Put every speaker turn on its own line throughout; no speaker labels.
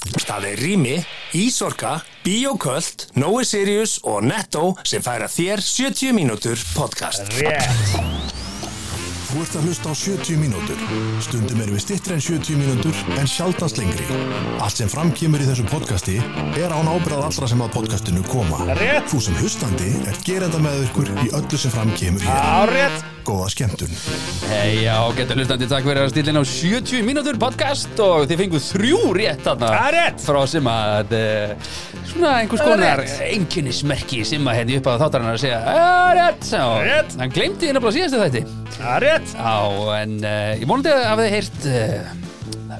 Það er Rými, Ísorka, Bíoköld, Nói Sirius og Netto sem færa þér 70 mínútur podcast.
Rétt
Þú ert að hlusta á 70 mínútur. Stundum erum við stittri en 70 mínútur en sjaldast lengri. Allt sem framkýmur í þessu podcasti er án ábyrðað allra sem að podcastinu koma.
Rétt.
Þú sem hlustandi er gerenda með ykkur í öllu sem framkýmur hér.
Árétt
Góða skemmtun.
Hei, já, getur hlustandi, takk fyrir að stilla inn á 70 mínútur podcast og þið fenguð þrjú rétt þarna
Það er rétt.
frá sem að eh, svona einhvers
Það er
konar
rétt.
einkennismerki hérna sem að henni upp að þáttarinn að segja "Það er rétt,
er rétt.
sá, hann glemdi hérna bara síðastu þætti
Árétt
Já, en uh, ég vonandi að þið heyrt uh,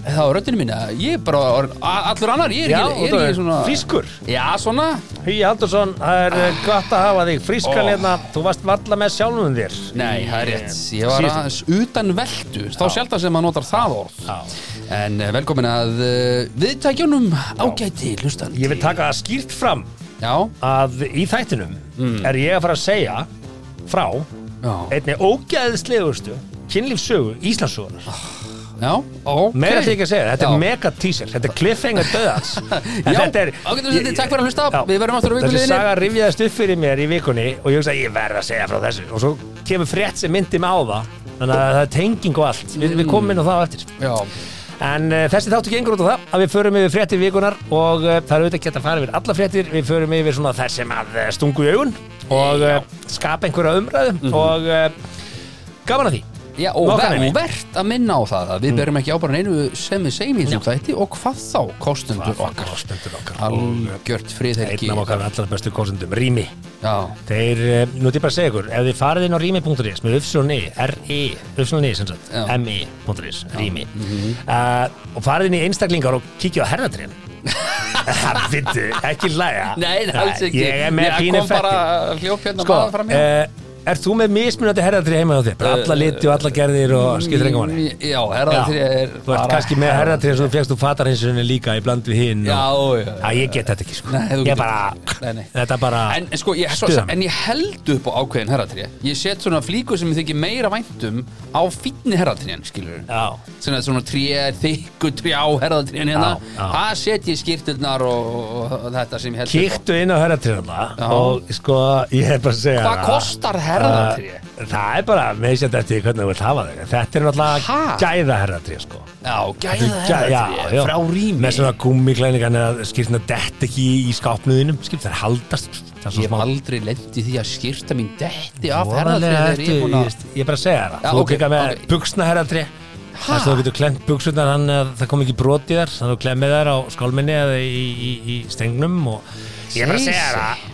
þá röddinu mín að ég er bara orðinn a- allur annar, ég er
Já,
ekki, ég er ekki svona
frískur
Já, svona,
Hugi Haldursson, það er oh. gott að hafa þig frískan
Ó.
hérna Þú varst varla með sjálfum þér
nei, það er rétt Ég var
Síðustu-
aðeins utan veldu, þá sjaldan sem maður notar það orð En eh, velkomin að uh, viðtækjunum ágæti, hlustan
Ég vil taka það skýrt fram
Já,
að í þættinum er ég að fara að segja frá
já,
einni ógæðislegustu kynlífsögu Íslandsugunar
já, ok
Meira til ekki að segja, þetta
Já.
er mega teaser Þetta er cliffhanger döðans
Já, ágætur hlustandi, takk fyrir að hlusta. Við verðum aftur á viku
Þessi
liðinni.
saga rifjaðist upp fyrir mér í vikunni og ég hugsa að ég verð að segja frá þessu og svo kemur frétt sem myndi mig á það þannig að það er tenging og allt Vi, Við komum inn á það á eftir
Já,
En uh, þessi þáttu gengur út á það að við förum yfir fréttir vikunar og uh, það er auðvitað ekki hægt að fara yfir alla fréttir við förum yfir svona þær sem að uh, stungu í augun og uh, skapa einhverja umræðu
Mhm.
og uh, gaman að því
já og,
Ná,
ver,
þannig.
og verðt að minna á það að
Mm.
við berum ekki ábæran einu sem við segjum í þessum þætti og hvað þá kostundur okkar
Stendur okkar
Algjört friðhelgi
Einn af okkar allra bestu kosendum, Rými
Já,
Þeir, eh, nú ætlum ég bara að segja ykkur, ef þið farið inn á rými.is með öfsjóni, R-I, öfsjóni, sem sagt,
Já. Mhm.
M-I.is, rými, uh, og farið inn í einstaklingar og kíkja á herðatrén. Vittu, ekki læga.
nei, nei, alls ekki
Ég er með
Ég
pínu
kom bara
fætti.
hljóp hérna
Sko,
maður fram hjá
uh, er þú með mismunandi herðatrén heima á þér? Bara
Eh,
alla liti og alla gerðir og skiptir enga manni?
Já, herðatrén mm, er
Þú ert kannski með herðatrén sem þú fegst úr fatarhinsunni líka í bland við hinn.
Já,
og-
já, já.
Æ, ég get þetta ekki, sko.
Nei, þú
ég
getur
bara,
ekki. Nei, nei.
þetta bara,
En, en sko, ég, svo,
Stuðar mig.
en ég held upp á ákveðin herratrí Ég set svona flíku sem ég þykir meira væntum á fínni herratrín, skilur
Já.
Svona, svona tré, þykku trjá herratrín hérna
Já, já.
Það set ég skýrturnar og, og, og þetta sem ég held upp á.
Kíktu inn á
Já.
herðatrýðana og sko, ég er bara að segja
Hvað
það.
kostar herðatrý?
Uh, Það er bara meðsjönd eftir því hvernig þú vilt hafa þig Þetta er náttúrulega
Ha?
gæða herðatrý sko.
Já,
Þetta
gæða
er gæ- já,
herratrí
já.
Frá rými
Með svona gummiklæningan eða skýrna dett ekki í skápnuðinum skýrna þær haldast sko. Það er
Ég
svo
hef
smá
aldrei lendi því að skýrta mín detti af herratrí
Voðalega
þegar ég
ertu-
er búin að
Ég ég er bara að segja þér
Já,
það Þú
ok,
kekka með
ok.
buksna herðatrý
Ha?
Það sem þú getur klemt buksunar hann það kom ekki brot í þær þannig að þú klemmið þær á skálminni eða í, í, í stengnum og ég er bara að segja
Jesus.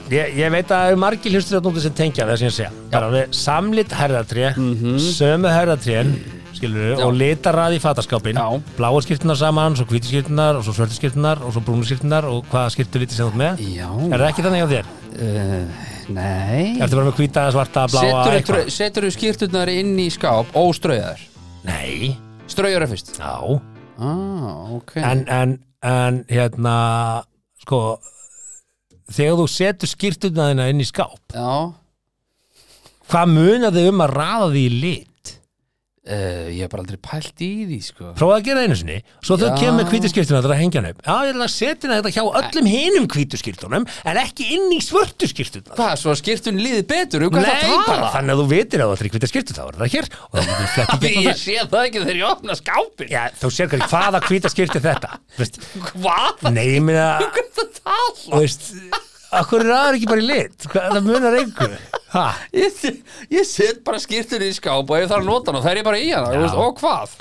það ég, ég veit að það eru margir hlustur að núti sem tengja það sem ég segja bara við samlit herðatré
Mhm.
sömu herðatrén skilur við og litarrað í fataskápin
Já.
bláa skýrtunar saman, svo hvíti skýrtunar og svo svörtu skýrtunar og svo brúnu skýrtunar og hvaða skýrtu liti sem þú ert með
Já.
er það ekki þannig á þér?
uh, Nei
Ertu bara með hvíta, svarta, bláa eitthvað?
Setur þú skýrturnar inn í skáp óströðar
Nei,
Ströðar er fyrst
já
Ah, ok
en, en, en hérna sko þegar þú setur skýrtuna þína inn í skáp
Já,
hvað munar þið um að raða því í lit
uh, ég hef bara aldrei pælt í því sko
prófaði að gera það einu sinni svo þau
Já.
kemur með hvítu skýrtuna til að hengja hann upp já, ég ætla að setja hana þetta hjá öllum hinum hvítu skýrtunum en ekki inn í svörtu skýrtuna
Hvað, svo skýrtun líði betur, um hvað
Nei,
það
bara
tala?
þannig að þú vitir að það er hvítu skýrtu þá er það hér og það er flett í
Því
gegnum
ég
það
sé það ekki þegar ég opna skápin
Já, þú sér hvernig hvaða hvíta skýrtu þetta Þú veist,
Hvað?
Nei, ég meina
Um hvað það
Þú
tala?
veist, akkur er aður ekki bara í lit Hvað, það munar einhver ha,
Ég, se- ég set bara skýrtun í skáp og ég þarf að nota hana, það er ég bara í hana þú veist, Og hvað?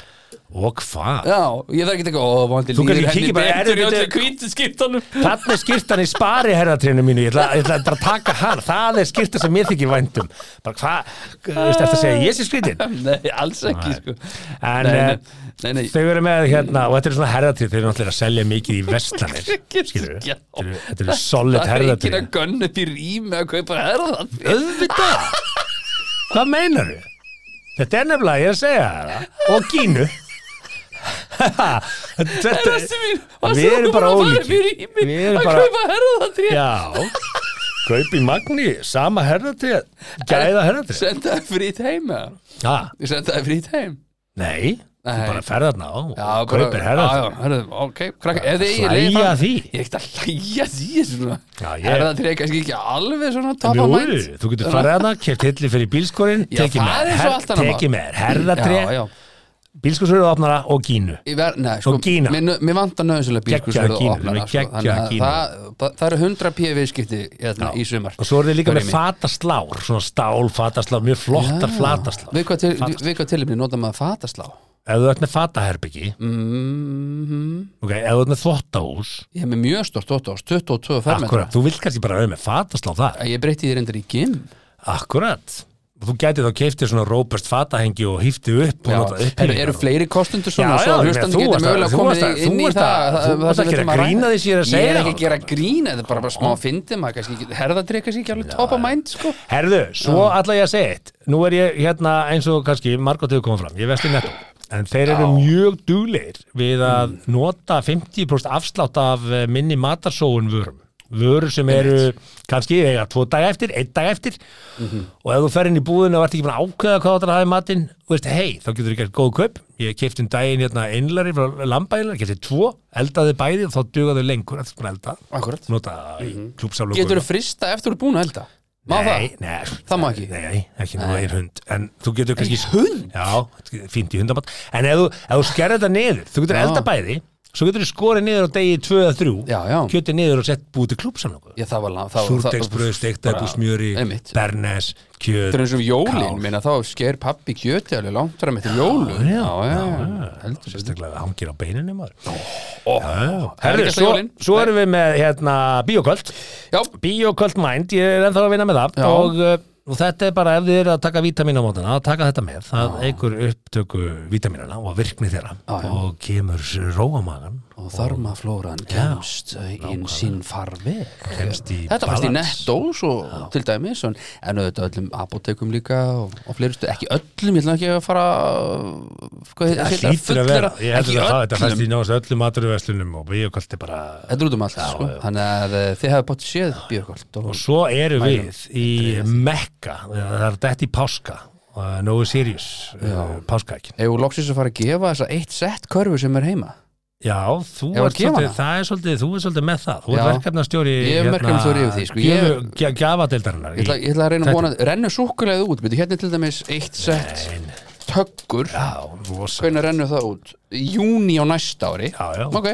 Og hvað?
Já, ég þarf ekki að teka, ó, vandi
Þú kannski
líður henni
kíkir bara,
betur
"Herru,
í öllu
bíddu."
hvítu skýrtunum
Þarna er skýrtan í spari herðatrénu mínu Ég ætla, ég ætla bara að taka hann Það er skýrta sem ég þykir væntum Bara hvað, þú veist eftir að segja Ég sé skýrtin
Nei, alls ekki sko
En,
Nei,
eh,
nei, nei, nei.
Þau eru með hérna, og þetta eru svona herðatrýð Þau eru náttúrulega að selja mikið í vestanir Skilur
Já.
Þetta eru- þetta eru solid
Það er ekki
herðatrýð
að gönn upp í rými að kaupa herðatrý
Öðvitað Hvað meinar þau? Þetta er nefnilega, ég er að segja þér það Og gínu Þetta
Vastu mín, vastu
Við erum bara ólíkir
Við
Við erum
erum bara
bara-
að kaupa herðatrý
Já Kaupi Magni, sama herðatrið Gæða herðatrið
Senda það frýtt heim eða?
Ha,
Ég Senda það frýtt heim
nei
Nei.
bara ferð þarna á
Já,
og
bara-
kaupir
Já,
herðar
já, herðu, ok, krakka, ef þið eigið
Hlæja
leið fram-
því.
Ég er ekkert að hlæja því þessu svona
Já, ég-
Herðatrið er kannski ekki alveg svona top
Jú,
of mind
þú getur farið þarna, keft hilli fyrir bílskorinn
Já,
tekið
það
með,
er svo
her,
allt annað mál.
tekið með herðatré,
Já, já
bílskorsöru opnara og gínu
Ég ver, nei, sko,
Og Kína.
Mér, mér vantar nöðsynlega bílskur
Geggjaða Kína, við geggjaða Kína.
sko. það, það, það eru 100 pí viðskipti hérna, í sumar
og svo eru þið líka
Hverjum
með
í?
fataslár svona stál fataslár, mjög flottar flataslár
Við hvað til,
Fataslá.
við hvað tilumni nota maður fataslá
ef þú ert með fataherbyggi
mm
ok, ef þú ert með þvottahús
Ég hef með mjög stort 8 ás, 22 fermetra
akkurat, þú vilt kannski bara vera með fataslár þar
Ég breytti því reyndar í gym
akkurat, og þú gætið þá keiftið svona rópust fatahengi og hýftið upp og
Já,
notað upp
eru, eru fleiri kostendur
Já,
svona
já,
svo
ég meina,
hlustandi
þú
getur
varst að-
mögulega
þú
komið
varst að-
inn
þú
í
varst að-
það, það-
þú
það
varst
sem
að
við
gera
ætlum ræða.
grín að því sem ég er að
Ég
segja
er ekki að
þarna.
gera grín, þetta er bara, bara smá fyndi maður kannski herðatrið kannski ekki alveg top of mind sko.
Herðu, svo ætla ég að segja eitt Nú er ég hérna eins og kannski margótt hefur komið fram, ég vesti netto En þeir eru mjög dugleir við að nota 50% afslátt af eh, minni matarsóun vörum Vörur sem eru kannski eiga tvo dag eftir, einn dag eftir og ef þú fer inn í búðinu og ert ekki búin að ákveða hvað þú ætlar að hafa í matinn þú veist, hei, þá getur þú gert góð kaup ég kefti um daginn hérna einlari frá lambælar, kefti tvo, eldaði bæði og þá dugaðu lengur, þetta er búin að elda
Akkurat.
nota það í klúpsaflöku
Getur þú frista eftir þú er búin að elda?
Nei,
Má það?
nei,
Það má ekki?
Nei, ekki nú ein hund En þú getur kannski
hund?
Já, fínt í hundamat En ef þú, ef þú skerði þetta niður Þú getur
Já.
elda bæði Svo getur þú skorið niður á degi 2 eða 3
Já, já.
Kjötið niður og sett búið til klúpsamlöku
Já, það var langt það var-
Súrtegsbröð, steikta upp úr smjöri
einmitt.
Bernes, kjöt
Þetta er eins og jólin,
kál.
minna þá sker pappi kjöti alveg langt fram eftir jólu
já,
heldur sér
Sérstaklega það hangir á beininu maður
Það er
Herru,
ekki alltaf
svo,
jólin.
svo erum við með hérna, bíoköld
Já,
Bíoköld Mind, ég er ennþá að vinna með það
Já.
og, uh, og þetta er bara ef þið eru að taka vítamín á mótana, að taka þetta með það eigur upptöku vítamínana og virkni þeirra og kemur róamagan
og þarmaflóran kemst eh, inn sín farveg
Kemst í
Þetta fannst í
balance.
nettós og til dæmis en, en auðvitað öllum apotekum líka og, og fleiri stu, ekki öllum, ég ætla ekki að fara sko, hvað
Það
heitir það,
hlýtur að vera, ég
ekki
heldur að það, þetta fæst
öllum
í náðast öllum maturverslunum og bíoköld er bara
Þetta er út um allt, sko, þannig að eh, þið hefðu bótt séð björgvöld
og svo eru við í Mekka, það er dætt í Páska uh, Nói Sirius, uh, Páskaækin
Ef þú loksins að fara að gefa þessa eitt sett körfu sem er heima
Já, þú
Ég var
ert
að gefa
svolítið,
hana.
það er svolítið, þú er svolítið með það Þú ert
Já.
verkefnastjóri
Ég er verkefnastjóri yfir því, sko. Ég-
Ég... Gjafadeildarinnar
Ég ætla, ég ætla að reyna að
Þetta-
vona Rennu súkulegðu út, byrju, hérna er til dæmis eitt sett töggur
Já, rosa
Hvernig rennur það út? Í Júni á næsta ári
Já, já.
Ok,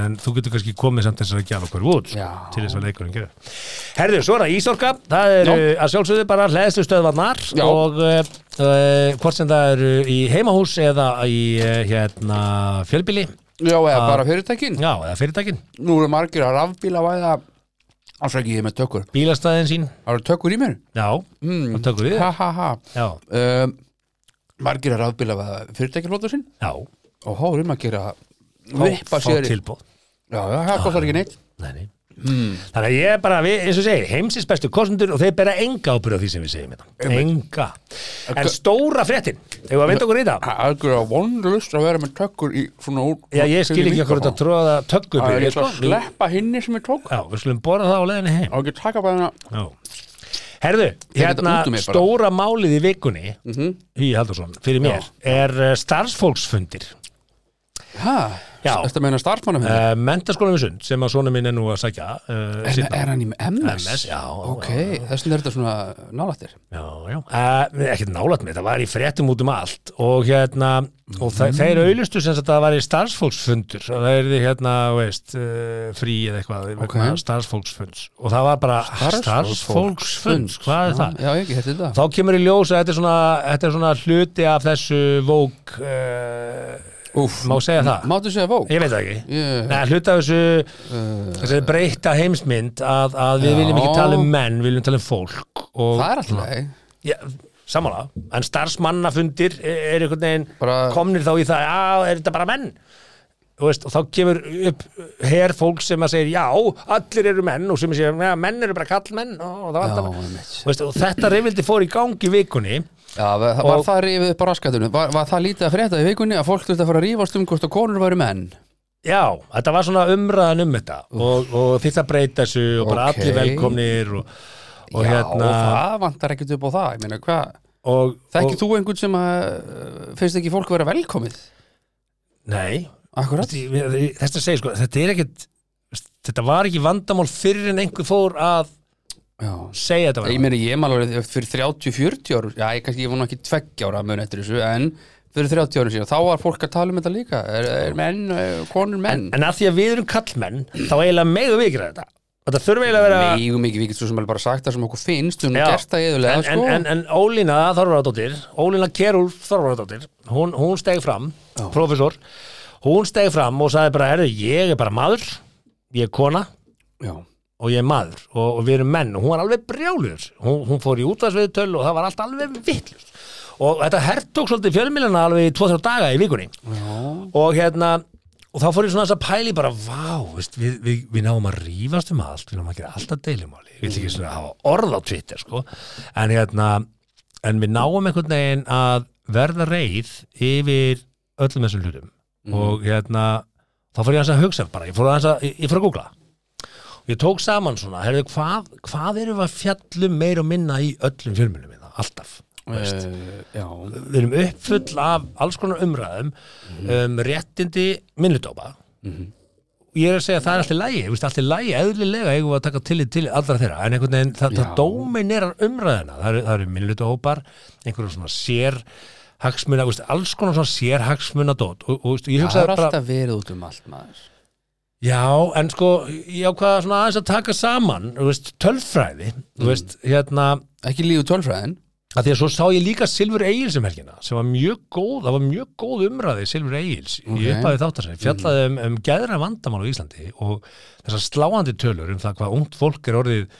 En þú getur kannski komið samt þess að gjafa okkur út sko,
Já.
Til þess að leikurinn gerir Herðu, svo er það Ísorka Það eru að sjálfsögðu bara hlæðstu stöðvarnar
Já.
Og uh, uh, hvort sem það eru í heimahús Eða í uh, hérna fjölbili
já, eða bara fyrirtækin
Já, eða fyrirtækin
Nú eru margir að rafbíla væða Ásæki ég er með tökur
Bílastæðin sín
Það eru tökur í mér
Já, mm. tökur við
Ha ha ha
Já,
um, Margir að rafbíla væða fyrirtækiflóta sinn
já
Og há erum að gera
Fá- Ah.
Vippa
fá
sér Já,
tilboð
já, það kostar ekki neitt
Nei, nei.
Hmm.
Þannig að ég er bara, við, eins og segir, heimsins bestu kostendur og þeir bera enga ábyrgð á því sem við segjum þetta. Enga. En stóra fréttin, ef að vinda okkur í það.
Það er algjör að vonlust að vera með tökur í svona út
Já, ég skil ekki okkur þetta tróða tökku
sko. Það er ekki
upp. sko.
að sleppa hinni sem ég tók
Já, við skulum bora það á leiðinni heim.
og ekki taka bara hérna
Já. Herðu,
þetta
hérna
út úr mér bara. Mhm.
stóra málið í vikunni, mm -hmm. í Haldursson, fyrir mér, er uh, starfsfólksfundir.
Hæ?
Já.
Þetta meina starfmannum uh,
Uh, Mentaskólanum í sund, sem að svona minn er nú að sækja. Uh,
er,
seinna.
er hann í MS?
MS, já,
Ok, þess vegna er þetta svona nálættir
Já, já, uh, ekkert nálægt mér, það var í fréttum út um allt og hérna, og þe þeir
Mm.
auðlustu sem sagt að það var í starfsfólksfundur og það er því hérna, þú veist, uh, frí eða eitthvað,
Ok.
vegna starfsfólksfunds og það var bara starfsfólksfunds, hvað er það?
Já, ég ekki, þetta er það
Þá kemur í ljós að þetta er svona, þetta er svona hluti af þessu vók, uh,
Úf,
má segja það?
máttu segja vók?
Ég veit það ekki.
Ég- Eh.
Nei, hluti af þessu, þessu breyta heimsmynd að, að við viljum ekki
Já.
tala um menn, við viljum tala um fólk. Og,
Það er alltaf leið
Já, samanlega, en starfsmannafundir er einhvern veginn
Bara-
komnir þá í það, já, er þetta bara menn Þú veist, og þá kemur upp her fólk sem að segir, já, allir eru menn og sem að segir, já, menn eru bara kallmenn og, það
Já,
vantar bara-
einmitt.
Þú veist, og þetta reyfildi fór í gangi vikunni
Já, var það- var það rífið upp á raskatunum? Var, var það lítið að frétta í vikunni að fólk þurfti að fara að rífast um hvort að konur væru menn?
já, þetta var svona umræðan um þetta og, og þýtt að breyta þessu og bara
Ókei.
allir velkomnir og, og
já,
hérna
það vantar ekkert upp á það Ég meina, hvað?
og,
Þekkir
og,
þú einhvern sem að uh, finnst ekki eh, fólk vera velkomið?
Nei,
Akkurat
þess að segja sko, þetta er ekkit þetta var ekki vandamál fyrir en einhver fór að
Já
segja þetta
Ég
var
meina ég maður fyrir 30-40 ára Já, ég kannski ég vona ekki tveggja ára mun eftir þessu En fyrir 30 ára síðan Þá var fólk að tala um þetta líka Er, er menn, er konur menn
en að því að við erum kallmenn þá eiginlega megum við ekki gera þetta og það þurfa eiginlega að vera
Megum ekki, við getum svo sem alveg bara sagt það sem okkur finnst
Já.
Við erum gert það
en,
yfirlega, sko
en, en, en Ólína Þorvaradóttir Ólína Kerúl Þorvaradóttir hún, hún steg fram, professor hún steg fram og sagði bara herðu, ég er bara maður, ég er kona
sko. Já,
og ég er maður og, og við erum menn og hún var alveg brjálur hún, hún fór í útvarsviðtöl og það var allt alveg vittlust og þetta hertók svolítið fjölmilina alveg í 2-3 daga í vikunni Já. og hérna og þá fór ég svona þess að pæli bara vá, veist, við, við, við náum að rífast um allt við náum að gera alltaf deilumáli við viljum ekki svona hafa orð á Twitter sko. en hérna en við náum einhvern veginn að verða reið yfir öllum þessum hlutum og hérna þá fór ég aðeins að hugsa bara, ég fór aðeins að, ég, ég fór að googla ég tók saman svona, herrðu, hvað, hvað erum við að fjallum meir og minna í öllum fjölmjölum minna, alltaf
uh, já
við erum uppfull af alls konar umræðum um, réttindi minnudópa
Mhm.
ég er að segja að það er allt í lægi veist, allt í lægi, eðlilega eigum við að taka tillit til allra þeirra, en einhvern veginn það, það
Já.
dóminerar umræðina, það eru, það eru minnudópar einhverjum svona sér hagsmuna, veist, alls konar svona sér hagsmuna dót og, og veist, ég
Það
hugsaði
er
bara
alltaf verið út um allt maður
Já, en sko, ég ákvaða svona aðeins að taka saman, þú veist, tölfræði, þú veist, hérna,
Ekki lífu tölfræðin
að því að svo sá ég líka Silfur Egils um helgina, sem var mjög góð, það var mjög góð umræði Silfur Egils í
Ok.
upphafi þáttarsinni,
Mhm.
fjallaði um, um geðra vandamál á Íslandi og þessar sláandi tölur um það hvað ungt fólk er orðið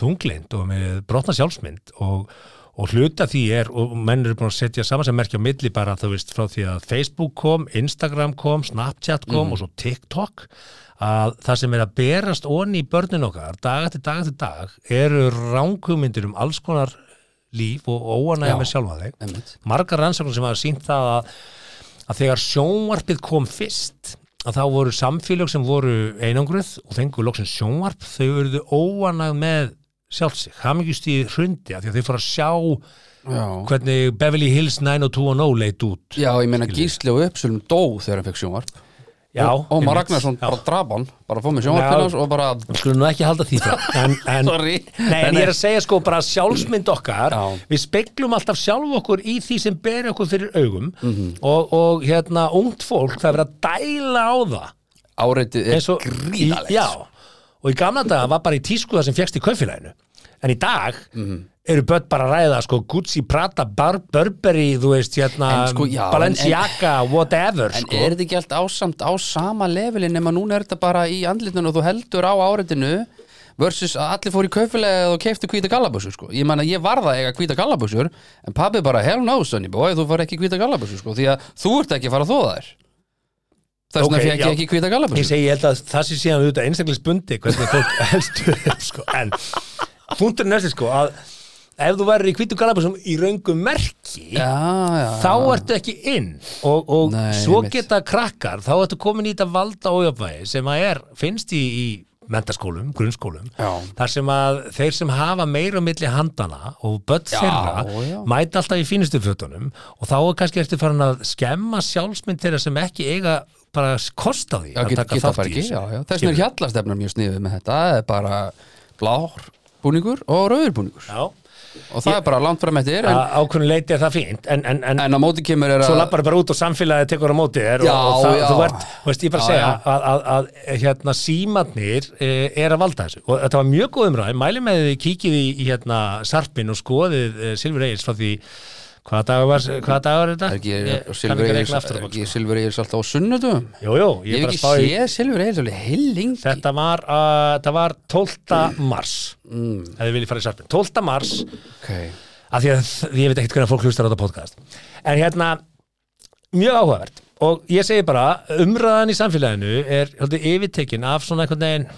þunglind og með brotna sjálfsmynd og, og hluta því er og menn eru búin að setja saman sem merkja á milli bara þú veist frá því að Facebook kom, Instagram kom, Snapchat kom
Mhm.
og svo TikTok að það sem er að berast onni í börnin okkar dag eftir dag eftir dag eru ránkugmyndir um alls konar líf og óanægja
Já.
með sjálfa þig
Einmitt.
margar rannsóknir sem hafa sínt það að, að þegar sjónvarpið kom fyrst að þá voru samfélög sem voru einangruð og fengu loksins sjónvarp þau verðu óanæg með sjálf sig, hamingjustíð hrundi af því að þau fóru að sjá
Já
hvernig Beverly Hills 90210 leit út
Já, ég meina Gísli og Uppsölum dó þegar hann fekk sjónvarp
Já,
Og Ómar
einmitt.
Ragnarsson
Já.
bara draf hann Bara fór með sjónvarpinn
Já.
hans og bara
Við skulum nú ekki halda því frá en, en,
Sorry.
Nei, en
Nei,
ég er að segja sko bara að sjálfsmynd okkar
Já.
við speglum alltaf sjálf okkur í því sem ber okkur fyrir augum
Mhm.
og, og hérna ungt fólk það er verið að dæla á það
Áreitið er
eins og
gríðalegt
í, já, og í gamla daga var bara í tísku það sem fjekst í kaupfélaginu en í dag
Mhm.
eru börn bara að ræða sko Gucci, Prada, Bar Burberry þú veist hérna
En sko, já, en-
Balenciaga, whatever
En
sko.
er þetta ekki allt ásamt á sama levelin nema núna er þetta bara í andlitinu og þú heldur á áreitinu versus að allir fór í kaufilega og keiftu hvíta gallabössur sko. Ég man að ég varða eiga hvíta gallabössur en pabbi bara hell no sonny boy þú far ekki hvíta gallabössur sko því að þú ert ekki að fara að þóða þér Þess vegna
Ok,
okay, fekk
já.
ég ekki hvíta
ég
gallabössur
segi, ég held að það sé síðan auðvitað einstaklisbundi hvernig fólk helstu upp, sko. en punkturinn er þessi sko að ef þú verður í hvítu galabúsum í röngu merki
Já, já,
þá ertu ekki inn og, og
Nei,
svo
einmitt.
geta krakkar þá ertu komin í þetta valda ójöfvæði sem að er, finnst í, í mentaskólum, grunnskólum
Já.
þar sem að þeir sem hafa meira á milli handana og börn
Já,
þeirra
já.
mæta alltaf í fínustu fötunum og þá er kannski eftir farin að skemma sjálfsmynd þeirra sem ekki eiga bara kosta því
Já,
að
geta,
taka
geta
þátt
bara
í
ekki,
þessu.
já, já. Þess vegna er hjallastefnar mjög sniðið með þetta, það er bara blár búningur og rauður búningur
Já,
og það er bara langt fram eftir en,
að ákveðin leiti er það fínt en, en, en
en á móti kemur er
svo
að
lappar bara út og samfélagið tekur á móti þér og,
Já,
og það,
já.
þú ert, þú veist, ég bara
Já,
segja
já.
að, að, að, hérna símatnir e, er að valda þessu og þetta var mjög góð umræði, mæli með því kíkið í, í hérna sarpin og skoðið e, Silfur Egils frá því hvaða dagur var, hvaða dagur er þetta?
er ekki
Ég
og
kann
Silfur
ekki
Egils
regla aftur á
er
bak,
ekki
sko.
Silfur Egils alltaf á sunnudum
Jú, jú,
Ég
ég,
hef
bara
ekki
spáði
séð Silfur Egils alveg hellingi
Þetta var, uh, það var 12. mars mm. hefði viljið fara í sarpin 12. mars
okay.
af því að þ- ég veit ekkert hvernig fólk hlustar á þetta podcast en hérna, mjög áhugavert og ég segi bara, umræðan í samfélaginu er haldið yfirtekin af svona einhvern veginn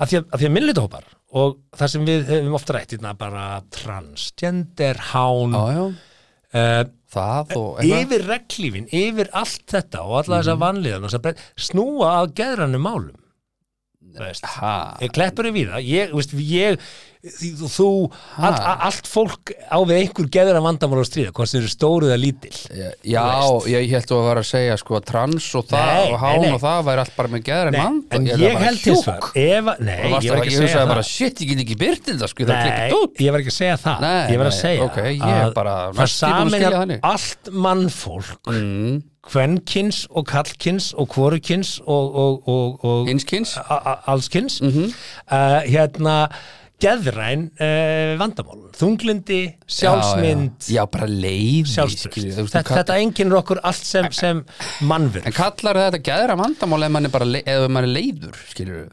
af því að, af því að minnlutahópar og það sem við hefum ofta rætt hérna bara transgender, hán
Já,
uh,
já, það og eitthvað
Eh,
Mhm.
yfir reglífin, yfir allt þetta og alla þessa vanlíðan og þessa breytt, snúa að geðranum málum þú veist.
Ha.
Ég kleppur við það, ég, þú veist, ég því, þú- þú, all, a- allt fólk á við einhver geður að vandamál og stríða hvort þau eru stóruð að lítil
Já, ég held þú að vera að segja sko að trans og það
Nei,
og hán
nei, nei.
og það væri allt bara með geðar en
Nei,
mann
en ég held til svar ef, að- Nei,
Ég
ég var
var
ekki að
ekki
segja
hugsaði bara,
það
shit, ég get ekki byrtið það, sko, það er klikkið
Nei,
út.
ég var ekki að segja það
Nei,
Ég var að
nei,
segja
ok, ég er bara
Það
næstum búin að skilja
samin
þannig.
allt mannfólk mm. Kvenkins og kallkins og kvorukins og, og, og, og
Hinskins? Mhm.
a- a- allskins mm Hérna geðræn uh, vandamál Þunglindi, sjálfsmynd
Já, já, já, bara leiði, skilur, þú
Sjálfsmynd,
veist,
þetta,
kallar-
þetta enginnur okkur allt sem, sem mannverð
En kallar þetta gæðra vandamál ef mann er bara le- ef mann er leiður, skilur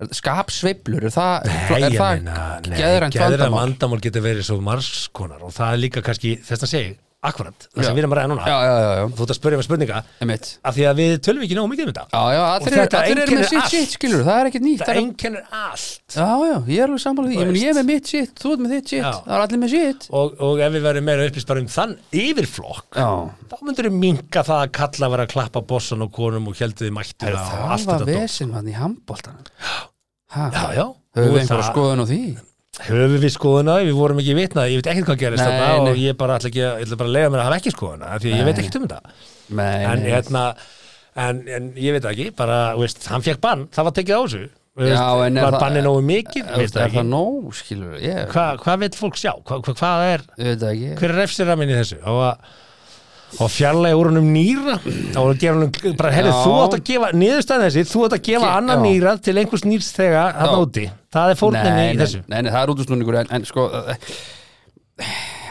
við Skapsveiflur, er það,
Nei,
er
ég
það
meina, nei,
gæðra
geðræn
vandamál?
vandamál getur verið svo margskonar og það er líka kannski, þess að segja, akkurat það
Já.
sem við erum að ræða núna,
Já, já, já, já,
þú ert að spurja með spurninga
emitt
af því að við tölum ekki nógu mikið um þetta
Já, já,
Og
allir, eru-
þetta
allir eru með
einkennir
sitt
allt.
sitt, skilur, það er ekkert nýtt
það
það er-
einkennir allt
Já, já, ég er alveg sammála því, ég, meni, ég er með mitt sitt, þú ert með þitt sitt,
Já.
það er allir með sitt
og, og ef við verðum meira upplýst bara um þann yfirflokk
Já,
þá myndur við minka það að kalla vera að klappa bossan og konum og heldur við mættu og
það
allt
var
þetta dót.
vesinn hann í handbóltanum
Já,
Höfum
já, Nú
við
er
einhverja
það-
skoðun á því?
höfum við skoðuna, við vorum ekki vitnað ég veit ekkert hvað gerist
Nei,
þarna
nei.
og ég bara ætla ekki að, ég ætla bara að lega mér að hafa ekki skoðuna af því að ég veit ekkert um þetta
Nei,
en
nei.
hérna en, en ég veit það ekki, bara, þú veist, hann fekk bann það var tekið á þessu þú
Já,
veist,
en er
var
það-
bannið nógu mikið,
Er
veist það
það
ekki
nóg, skilur við? Ég
Hva, hvað vil fólk sjá, hva, hva, hvað er
veit það ekki
hver er refsiramin í þessu og, að- og fjarlægi úr honum nýra og gefa honum, bara herri,
Já.
þú átt að gefa niðurstæðan þessi, þú átt að gefa
Ge-
annan
já.
nýra til einhvers nýrs þegar hann
Já.
úti, það er fórninni
nei,
í þessu
nei, nei, nei, það er útusnúningur en, en sko eh,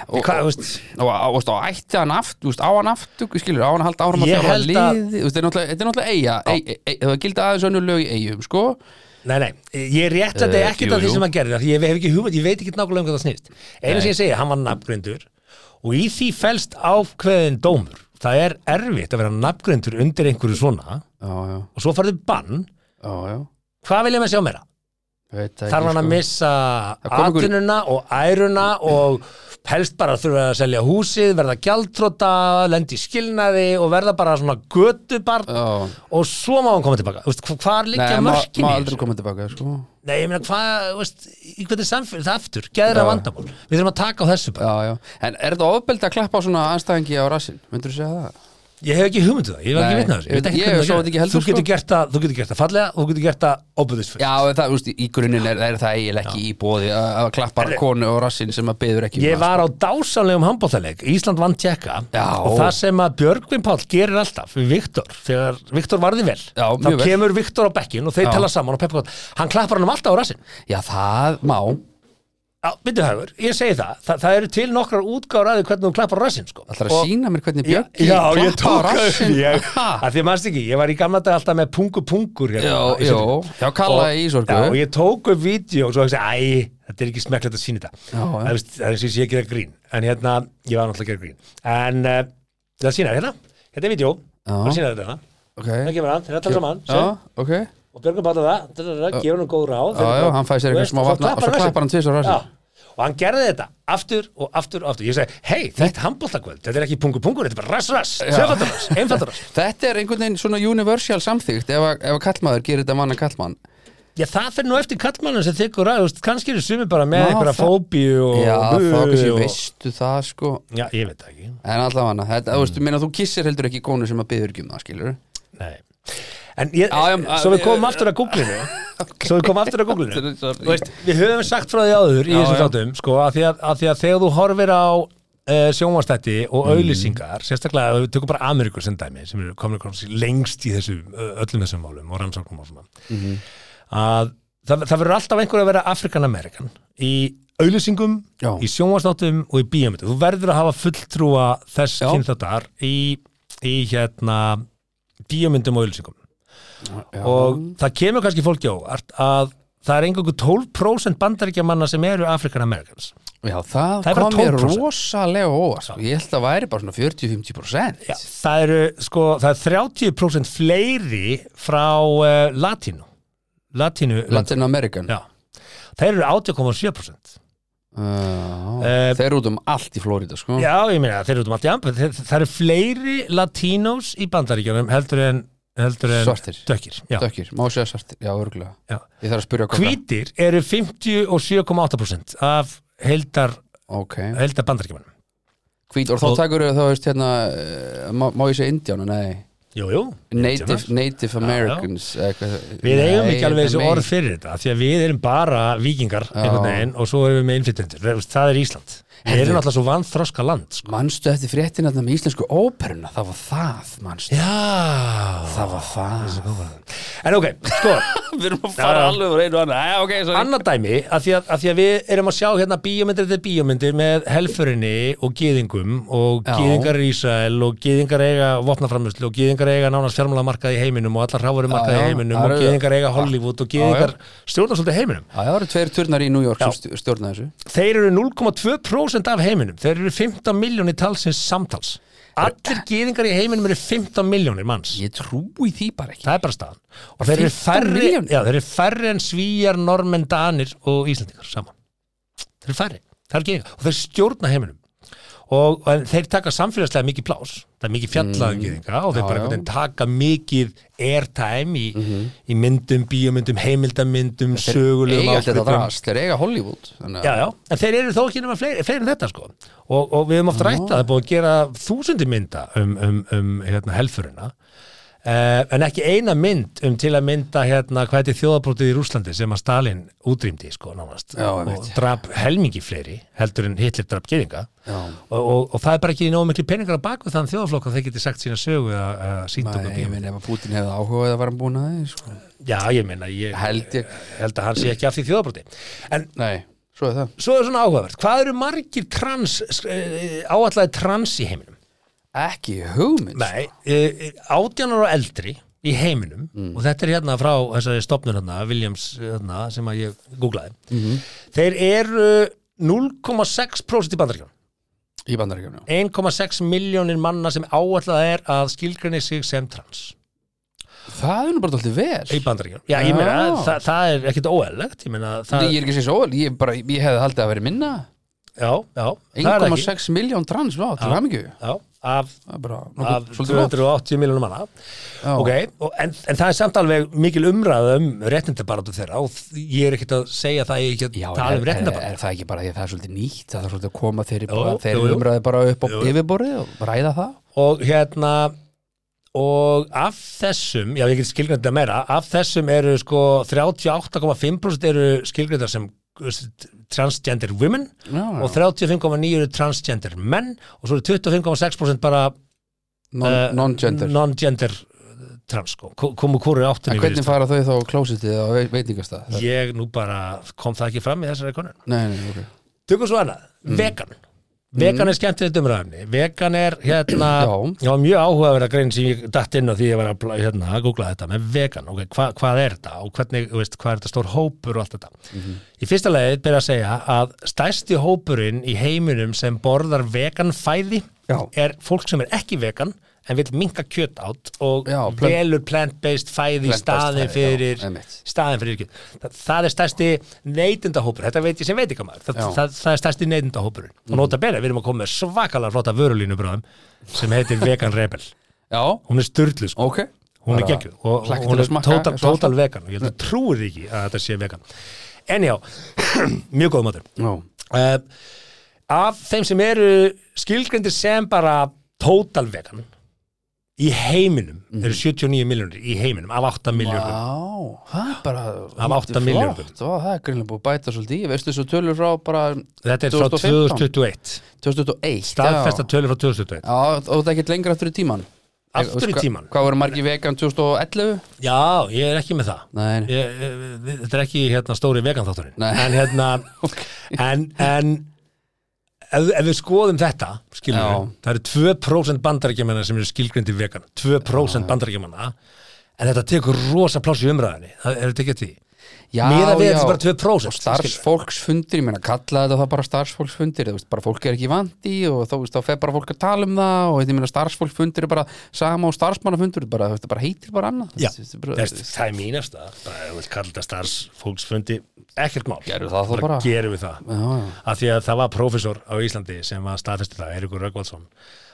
og,
hvað, þú
og,
veist
og, og, og, og ætti hann aft úst, á hann aft, skilur, á hann að halda árum að
Ég
þjálfa
held að-
liði úst, þetta er náttúrulega- þetta er náttúrulega eiga ei, ei, ei, það gildi aðeins önnu lög í eigum sko
Nei, nei, ég rétt að þetta
Eh,
ekkert
jú,
að því
jú.
sem hann gerði af því ég hef ekki hugmynd, ég veit ekki nákvæmlega um hvað það snýst einu sem ég segi, hann var nafngrindur og í því felst ákveðin dómur það er erfitt að vera nafngrindur undir einhverju svona
já, já,
og svo farðu bann,
já, já
hvað vil ég með sjá meira?
veit það
Þarf hann að
sko.
missa
kom ykkur-
atvinnuna og æruna og helst bara þurfa að selja húsið, verða gjaldtróta lendi í skilnaði og verða bara svona götubarn
já,
og svo má hann koma tilbaka, Þú veist, hv- hvar liggja
nei, má,
mörkin
má
í þessu?
aldrei koma tilbaka sko
Nei, ég meina, hvað, þú veist, í hvernig samfélg það aftur, geðra
Já.
vandamál Við þurfum að taka á þessu bara
já, já, en er þetta ofbeldi að klappa á svona anstæðingi á rassin, myndur þú segja það?
Ég hef ekki hugmyndu það, ég var ekki
Nei,
vitna þessu Ég veit ekki
ég
hvernig
sá
það
þetta ekki
gerir.
heldur,
Þú getur
sko.
gert það, þú getur gert það fallega og þú getur gert það óbúðisfull
Já, en það, úst, í grunninn er, er það eiginlega ekki í bóði að að klappa konu á rassin sem að byður ekki um
Ég
það,
var á dásanlegum handbóðaleg Ísland vann tjekka
Já.
og það sem að Björgvin Páll gerir alltaf við Viktor, þegar Viktor varði vel
Já,
þá
mjög vel.
kemur Viktor á bekkin og þeir
Já.
tala saman og peppa gott, hann klappar hann um alltaf á rassinn
sko. Já, það má,
Já, byrju haugur, ég segi það, Þa, það eru til nokkrar útgáður aðið hvernig hún klappar á rassinn sko.
Það er að
Og-
sína mér hvernig
Já,
Björki
já, ég tók
á
að
rassinn
ég,
Ha?
að því mannst ekki, ég var í gamla dag alltaf með pungu pungur hérna,
Já,
í
já,
sjónvarpinu.
já, kallaði
Og-
í sorgu.
Já, og ég tók upp vídeo og svo ekki æ, þetta er ekki smekklegt að sína þetta
Já, já.
Það er víst- það er sem ég sé að gera grín en hérna, ég var náttúrulega að gera grín en uh, það sína hérna, hérna er vídeo
Já.
það sína þetta hérna,
Ok,
það kemur hann, þeir allar saman
já,
sem-
ok Já,
og Björgum Páll það, það, það, það gefur hann góð ráð
já, hann fæði sér eitthvað smá vatna og svo klappar hann tvis á rassin
Já, og hann gerði þetta aftur og aftur og aftur ég segi, hei, þetta er handbóltakvöld, þetta er ekki pungu pungur þetta er bara rass rass, tvöfaldur rass, einfaldur rass
Þetta er einhvern veginn svona universal samþygt ef að, ef að kallmaður gerir þetta manna kallmann
já, það fyrir nú eftir kallmannum sem þykkur að, þú veist, kannski eru sumi bara með
Já,
einhverja
það-
fóbíu og
Já, þá kannski
og-
veistu það sko
já, ég veit það ekki,
En allavega, þetta, þú veist, meina þú kissir heldur ekki konu sem að byður ekki um það, skilur
nei en ég,
Já, já,
svo við
já,
komum
já.
aftur að googlinu svo við komum aftur að googlinu Þú
Sorry.
veist, við höfum sagt frá því áður í
Já,
þessum
já.
þáttum, sko, að því að, að því að þegar þú horfir á uh, sjónvastætti og
Mm.
auðlýsingar, sérstaklega ef við tökum bara Ameríkur sem dæmi, sem eru komin kannski lengst í þessu, ö- öllum þessum málum og rannsóknum og svona
Mhm.
að það, það verður alltaf einhver að vera Afrikan-Amerikan í auðlýsingum,
Já.
í sjónvastáttum og í bíómyndu, þú verður að hafa fulltrúa þess
Já.
kynþáttar í, í hérna bíómyndum og auðlýsingum
Já,
og það kemur kannski fólki á óvart að það er einhverju 12% bandaríkjamanna sem eru Afrikan-Amerikans
já það,
Það er bara
kom mér
12%.
rosalega óvart sko. Ég held að væri bara svona 40-50%
Já, það eru sko, það er 30% fleiri frá uh, latínu latínu
Latin American
Já. þeir eru 80,7% Eh,
Já, Þeir eru út um allt í Florida, sko
Já, ég meina, þeir eru út um allt í ambu þeir, það eru fleiri latinos í bandaríkjanum heldur en heldur en
Svartir.
dökkir, já,
Dökkir, má segja svartir, já, örgulega
já.
Ég þarf að spyrja kokka.
hvítir eru 57,8% af heldar,
Ok,
heldar bandaríkjumann
hvít og þá
Og-
takur þá veist hérna eh, má, má ég segja Indiána, nei
jú, jú,
Native,
Indianar.
Native Americans já, já.
Við eigum ekki alveg þessu orð fyrir þetta af því að við erum bara vikingar einhvern veginn og svo erum við með innflytjendur Það- það er Ísland Við erum alltaf svo vanþroska land sko.
Manstu eftir fréttina þarna með íslensku óperuna það var það, manstu
Já
það var það
En ok, sko,
Við erum að
fara
alveg úr einu annað Já, ok, sorry
annað dæmi af því, að, af því að við erum að sjá hérna bíómyndir þetta bíómyndir með helfurinni og gýðingum og
Já.
gýðingar í Ísrael og gýðingar eiga vopnaframlustlu og gýðingar eiga nánast fjármálamarkað í heiminum og allar
Já,
hrávarumarkað í
já,
heiminum
það
og
eru-
gýðingar eiga Hollywood og gýðingar stjórnar svolítið heiminum
Já, það voru tveir turnar í New York
Já.
sem stj- stjórna þessu
þeir eru 0,2% af heiminum þeir eru 15 miljónir talsins samtals allir gýðingar í heiminum eru 15 miljónir manns
Ég trúi því bara ekki
það er bara staðan og þeir eru
15
færri,
milljónir?
já, þeir eru færri en svíjar, normenn, danir og íslendingar saman þeir eru færri, það er gýðingar og þeir stjórna heiminum og, og en þeir taka samfélagslega mikið plás það er mikið fjallaðum gýðinga og þeir
Mm. Já,
bara
já. Mhm.
einhvern veginn taka mikið airtime í, í myndum, bíómyndum, heimildamyndum sögulegum
Eiga allt þetta
áskriftum.
drast, þeir eiga Hollywood þannig að-
Já, já, en þeir eru þó ekki nema fleiri, fleiri en þetta sko og, og við höfum oft rætt að það er búið að gera þúsundi mynda um, um, um hérna, helfurina uh, en ekki eina mynd um til að mynda hérna, hvað heitir þjóðabrótið í Rúslandi sem að Stalin útrýmdi sko nánast
Já,
og
einmitt.
drap helmingi fleiri heldur en Hitler drap geringa
Já.
og, og, og það er bara ekki nógu miklu peningar á baku þann þjóðaflokk að þeir geti sagt sína sögu eða uh, sínt okkur
Nei, ég
bíómynd
minn ef að Putin hefði áhugað að vera búin að það sko.
Já, ég meina, ég
Held ég.
held að hann sé ekki af því þjóðabróti en
Nei, svo er það
svo er svona áhugavert hvað eru margir trans eh, áallæði trans í heiminum
Ekki hugmynd
nei, eh, átjánar og eldri í heiminum
Mm.
og þetta er hérna frá þessari stopnur hérna, Williams hérna, sem að ég googlaði
Mhm.
þeir eru 0,6% í bandaríkjum
Í bandaríkjum, já
1,6 miljónir manna sem áallæði er að skilgrinni sig sem trans
Það er nú bara alltaf vel
í bandaríkjum já, ég meina,
Já.
það, það er ekkit óæðlegt ég meina, það,
Ég er ekki að segja svo vel, ég, bara, ég hefði haldið að vera minna
já, já, það er ekki
1,6 miljón trans, já, til hamingju
já, af,
Það er bara
af
nokkuð svolítið gott
280 miljónum manna
Já.
Ok, og, en, en það er samt alveg mikil umræða um réttindabaratu þeirra og þ- ég er ekkert að segja það ég er ekki
Já,
að
er,
tala um
er, er
réttindabaratu
það ekki bara því að það er svolítið nýtt það er svolítið að koma þeirri bara,
jú,
þeirri
jú.
umræði bara upp á
Jú, jú.
yfirborðið og ræða það
og hérna og af þessum, já ég get skilgrænt þetta meira af þessum eru sko 38,5% eru skilgræntar sem uh, transgender women
Já, já.
og 35,9% eru transgender menn og svo eru 25,6% bara
Non-
eh,
non-gender
non-gender uh, trans sko, Ko- komu kúru áttunni
En hvernig fara þau þá á klósitið á vei- veitingastað?
ég nú bara kom það ekki fram í þessari konun
Nei, nei, ok
Tökum svo annað,
Mm.
vegan Vegan er skemmtilegt umræðinni Vegan er hérna
Já.
Já, mjög áhugaverða grein sem ég datt inn á því ég var að bla- hérna, að googla þetta með vegan okay, hva, hvað er þetta og hvernig, þú veist, hvað er þetta stór hópur og allt þetta
Mhm.
Í fyrsta leið byrja að segja að stærsti hópurinn í heiminum sem borðar vegan fæði
Já.
er fólk sem er ekki vegan en vil minka kjöt átt og
Já, plant-
velur plant-based fæði í
Plant-based
staðin
fæði, já,
fyrir
einmitt.
staðin fyrir yrkjum. Það, það er stærsti neytindahópur, þetta veit ég sem veit ekki maður, það,
Já. Mhm.
það, það er stærsti neytindahópurinn. Og nota bene, við erum að koma með svakalega flotta vörulínu bráðum sem heitir Vegan Rebel.
Já,
Hún er styrlu sko,
ok
hún er
Bara-
geggjuð og
Hlakka
og hún
til
er
að smakka
total,
eins og
total vegan og ég held að trúið ekki að þetta sé vegan. Enjá, mjög góð matur.
Já,
Uh, af þeim sem eru skilgrindir sem bara total vegan í heiminum, eru 79 miljónir í heiminum af 8 miljónum.
Mhm. Vá, það er bara
Af átta
flott.
milljörðum.
Vá, Það er greinlega búið að bæta svolítið í Veistu þessu tölur frá bara
Þetta er frá
2015.
2021
2001
staðfesta
já.
tölur frá 2021
Já, og það er ekkert lengra aftur í tíman
Aftur í tímann?
Hvað voru margir vegan 2011?
Já, ég er ekki með það
Nei, nei.
ég, ég- Þetta er ekki hérna stóri veganþátturinn
Nei.
En hérna En, en ef, ef við skoðum þetta skilur
Já.
við, það eru 2% bandarækjumanna sem eru skilgrindi vegan 2% bandarækjumanna En þetta tekur rosa pláss í umræðinni Það er þetta ekki því
Já,
Miða við
já.
þetta er bara 2%
og starfsfólksfundir, ég meina kalla þetta það bara starfsfólksfundir, þú veist, bara fólk er ekki vandi og þá, þú veist, þá fer bara fólk að tala um það og þetta, ég meina starfsfólksfundir er bara sama og starfsmannafundir, bara, þú veist, það bara heitir bara annað
Já,
Þú veist, þetta er bara-
Þess, það er mínasta bara ef við kallum þetta starfsfólksfundi ekkert mál,
Gerum það þá bara.
gerum við það
Já, já.
af því að það var prófessor á Íslandi sem var staðfestur það, Eiríkur Röggvaldsson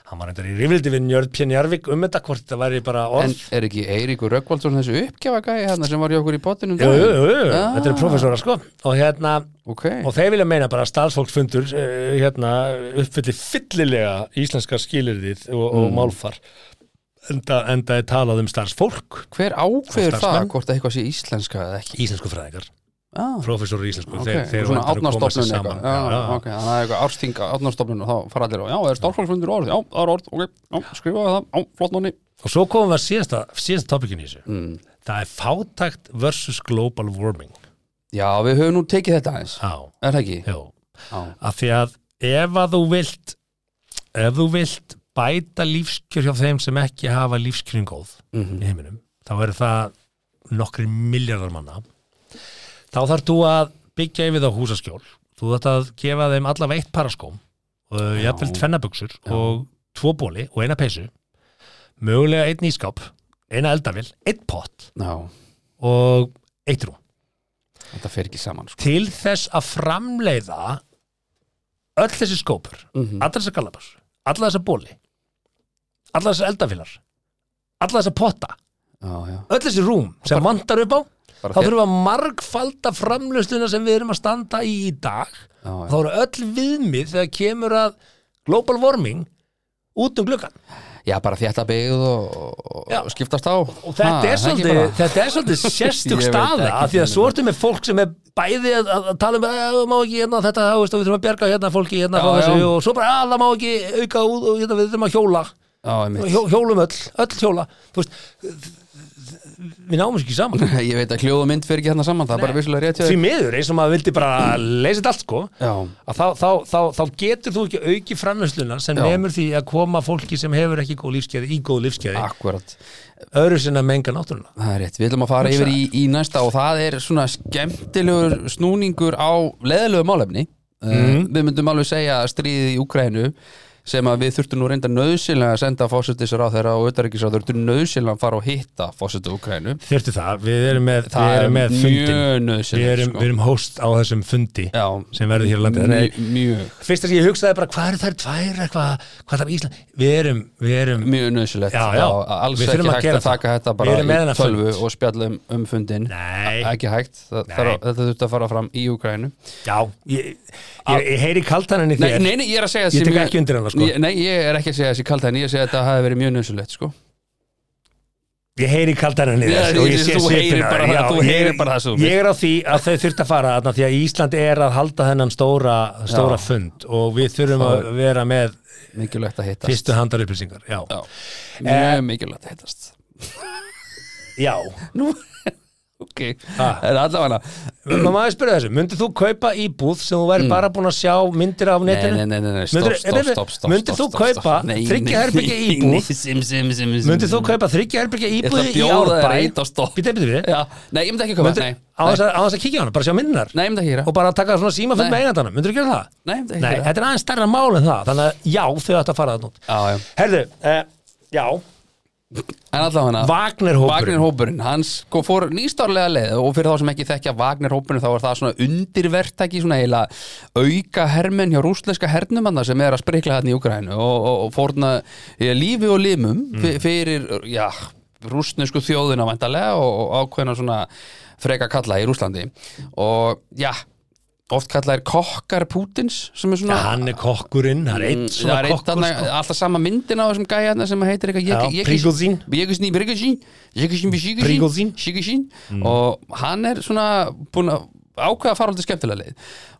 hann var reyndar í rifildi við Njörð Pjörn Jarvik um þetta hvort þetta væri bara orð
En er ekki Eiríkur Röggvaldsson þessu uppgjafagæði hérna sem var hjá okkur í pottinum?
Jú, jú, jú, jú.
Ah.
þetta eru professora sko og hérna,
Ok,
og þeir vilja meina bara að starfsfólksfundur uh, hérna, uppfylli fyllilega íslenska skilirðið og,
Mm.
og málfar enda, enda er talað um starfsfólk
hver ákveður það
Starfsmenn?
hvort eitthvað sé íslenska eða ekki?
íslensku fræðingar,
Ah,
professor í íslensku
ok,
þeir, þeir
svona
væntanlega koma sér
átnarstofnun
saman.
eitthvað Já,
Já, já.
ok, þannig að eitthvað ársting átnarstofnun og þá fara allir á, já, er stórfólksfundur orð? Já, það er orð, ok, já, skrifaðu það, já, flott nonni
og svo komum við að síðasta, síðasta topikinn í þessu
Mm.
það er fátækt versus global warming
Já, við höfum nú tekið þetta aðeins,
á,
er það ekki?
já
Já,
af því að ef að þú vilt ef þú vilt bæta lífskjör hjá þeim sem ekki hafa lífskjörin góð
Mhm.
í heiminum þá eru það nokkri miljardar manna þá þarf þú að byggja yfir þá húsaskjól þú þarft að gefa þeim allavega eitt paraskóm og
Já.
jafnvel tvennabuxur og tvo bóli og eina peysu mögulega einn ískáp eina eldavill, einn pott
já,
og eitt rúm
þetta fer ekki saman sko.
til þess að framleiða öll þessi skópur
Mhm.
allar þessar galabars, allar þessar bóli allar þessar eldafilar allar þessar potta
Já, já,
öll þessi rúm sem vantar upp á
bara
þá
þér-
þurfum við að margfalda framlustuna sem við erum að standa í í dag
já, já.
og þá eru öll viðmið þegar kemur að global warming út um gluggan
Já, bara þetta byggð og, og
Já.
og skiptast á
og þetta, er svolítið, þetta er svolítið
Ég
sérstök
veit
staða
ekki
af því að
hvernig
svo ertu með fólk sem er bæði að, að, að tala um að það má ekki hérna þetta þá veist og við þurfum að bjarga hérna fólki hérna
Já,
frá þessu
já.
og svo bara að það má ekki auka út og hérna, við þurfum að hjóla
Já, einmitt.
hjó, hjólum öll, öll hjóla þú veist við náum þessu ekki saman
Ég veit að hljóð og mynd fer ekki hérna saman Það er bara vissulega rétt hjá
því
þér.
miður eins og maður vildi bara leysa þetta allt sko
Já,
að þá, þá, þá, þá getur þú ekki auki framlösluna sem
Já.
nemur því að koma fólki sem hefur ekki góð lífskeiði í góð lífskeiði
akkurat
öðru sinna menga náttúruna
Það er rétt, við ætlum að fara yfir í, í næsta og það er svona skemmtilegur snúningur á leðilegu málefni mm.
Mhm.
Við myndum alveg segja að stríðið í Ukraínu sem að við þurftum nú reynda nöðsynlega að senda fósutisra á þeirra og auðvitaðrikisra þurftum nöðsynlega að fara og hitta fósutu Ukraínu
Þyrftu það, við erum með,
Það
við
er
erum með fundin
mjög
við
nöðsynlega
erum, við erum host á þessum fundi
Já.
sem verður hér á landið Þannig
Mjög, mjög,
að Fyrst að ég hugsaði bara hvað eru þær tvær eitthvað, hvað þarf Ísland við erum, við erum
mjög nöðsilegt
Já, já.
alls
Við
ekki
þurfum að
hægt
gera
að taka
það.
þetta
Við
bara
erum með
í
þennan
tölvu
fund.
og spjallum um fundin
Nei,
ekki hægt, það,
Nei.
það, þetta þurfti að fara fram í Ukrænu
já ég, ég, ég heyri kaltaninni
nei,
þér
nei, nei, ég er að segja
Ég
sé
tek
mjög-
ekki undir hana, sko.
ég, Nei, ég er ekki að segja þessi kalda en ég er að segja að þetta hafi verið mjög nöðsilegt sko.
Ég heyri kaltaninni
Já,
þér og ég
þú
sé
heyrir
svipina
bara- þú heyrir bara það sem þú
Ég er á því að þau þurft að fara þarna því að Ísland er að halda þennan stóra, stóra fund og við þurfum
Það
að vera með
mikilvægt að hittast
fyrstu Eh. handar upplýsingar já.
Já, mjög mikilvægt að hittast
já,
Nú, ok,
Ha.
það er allavega
Má maður spyrja þessu, myndir þú kaupa íbúð sem þú væri bara búin að sjá myndir af
Mm. Nei,
netinu?
nei, nei, nei, nei, stopp,
Myndir-
stopp,
nei, nei,
stopp, stopp
myndir þú
stopp, stopp,
kaupa
stopp. Nei,
þriggja
nei,
herbergja
nei,
íbúð?
nei, sim, sim, sim, sim.
Myndir þú kaupa þryggja herbyggja
ætla að
íbúð í
bjóða þér
árbæ?
eitt á stopp.
Býta, býta, býta.
Já, nei, ég myndi ekki koma,
Myndir-
nei
Á þess að á þess að kíkja á hana, bara sjá myndinar
Nei, ég myndi ekki gera
og bara taka svona símafund
Nei.
með eigandana, myndir þú gera það?
Nei, ég myndi ekki
Nei, eh.
gera
þetta er aðeins stærra mál en það, þannig að já, þau ættu að fara það nút.
Já, já.
Herðu, eh, já,
En allavega hana
Wagner-hópurinn.
Wagner-hópurinn, hans sko, fór nýstárlega leið og fyrir þá sem ekki þekkja Wagner-hópurinn þá er það svona undirvertæki svona heila auka hermenn hjá rúsleska hernumanna sem er að sprikla hérna í Ukraínu og, og, og fórna eh, lífi og limum mm. fyrir, já, rúsnesku þjóðina væntalega og, og ákveðna svona freka kalla í Rúslandi og já, oft kalla er kokkar Pútins sem er svona
Hann er kokkurinn, hann er einn
Mm, það er
svona
eitt
kokkur. sko.
annað, alltaf sama myndin á þessum gæja þarna sem heitir eitthvað
Já,
Ég-
Prigozhin.
Prigozhin, Prigozhin Prigozhin, Prigozhin,
Prigozhin.
Prigozhin
Mm.
og hann er svona búin að ákveða að fara alltaf skemmtilega leið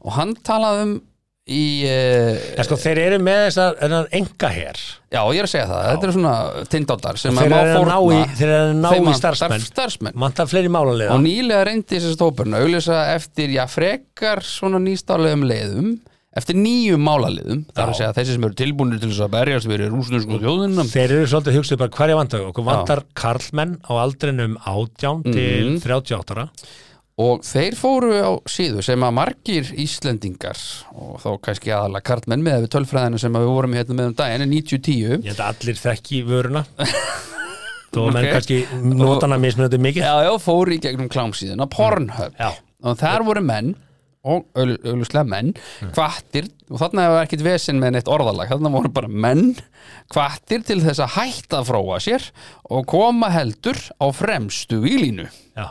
og hann talaði um í eh,
En sko, þeir eru með þessar, þennan enga her.
já, ég er að segja það, þetta eru svona tindóttar sem
Þeir
má
eru að ná í,
fórna
þeir eru að ná
Þeim
í
vantar
starfsmenn.
starfsmenn.
Mantar fleiri málanlega.
og nýlega reyndi þessi stópurinn að auglýsa eftir, já, frekar svona nýstálegum leiðum eftir nýjum málaliðum, þar
Já.
að segja þessi sem eru tilbúinir til þess að berjast fyrir rúsnusku þjóðunum
Þeir eru svolítið hugsið bara hverja vantar okkur vantar karlmenn á aldrinum 18
Mhm.
til 38 ára
og þeir fóru á síðu sem að margir Íslendingar og þá kannski aðalega kartmenn með við tölfræðina sem að við vorum í hérna með um daginn er 90-10
ég held að allir þekki vöruna þó að menn
Ok.
kannski notana mismunandi mikið
já, já, fóru í gegnum klámsíðuna Pornhub
Mm. Já.
og þar voru menn og auðvitað menn
Mm.
hvattir, og þarna hefur ekkert vesinn með neitt orðalag, þarna voru bara menn hvattir til þess að hætta að fróa sér og koma heldur á fremstu í línu
Já.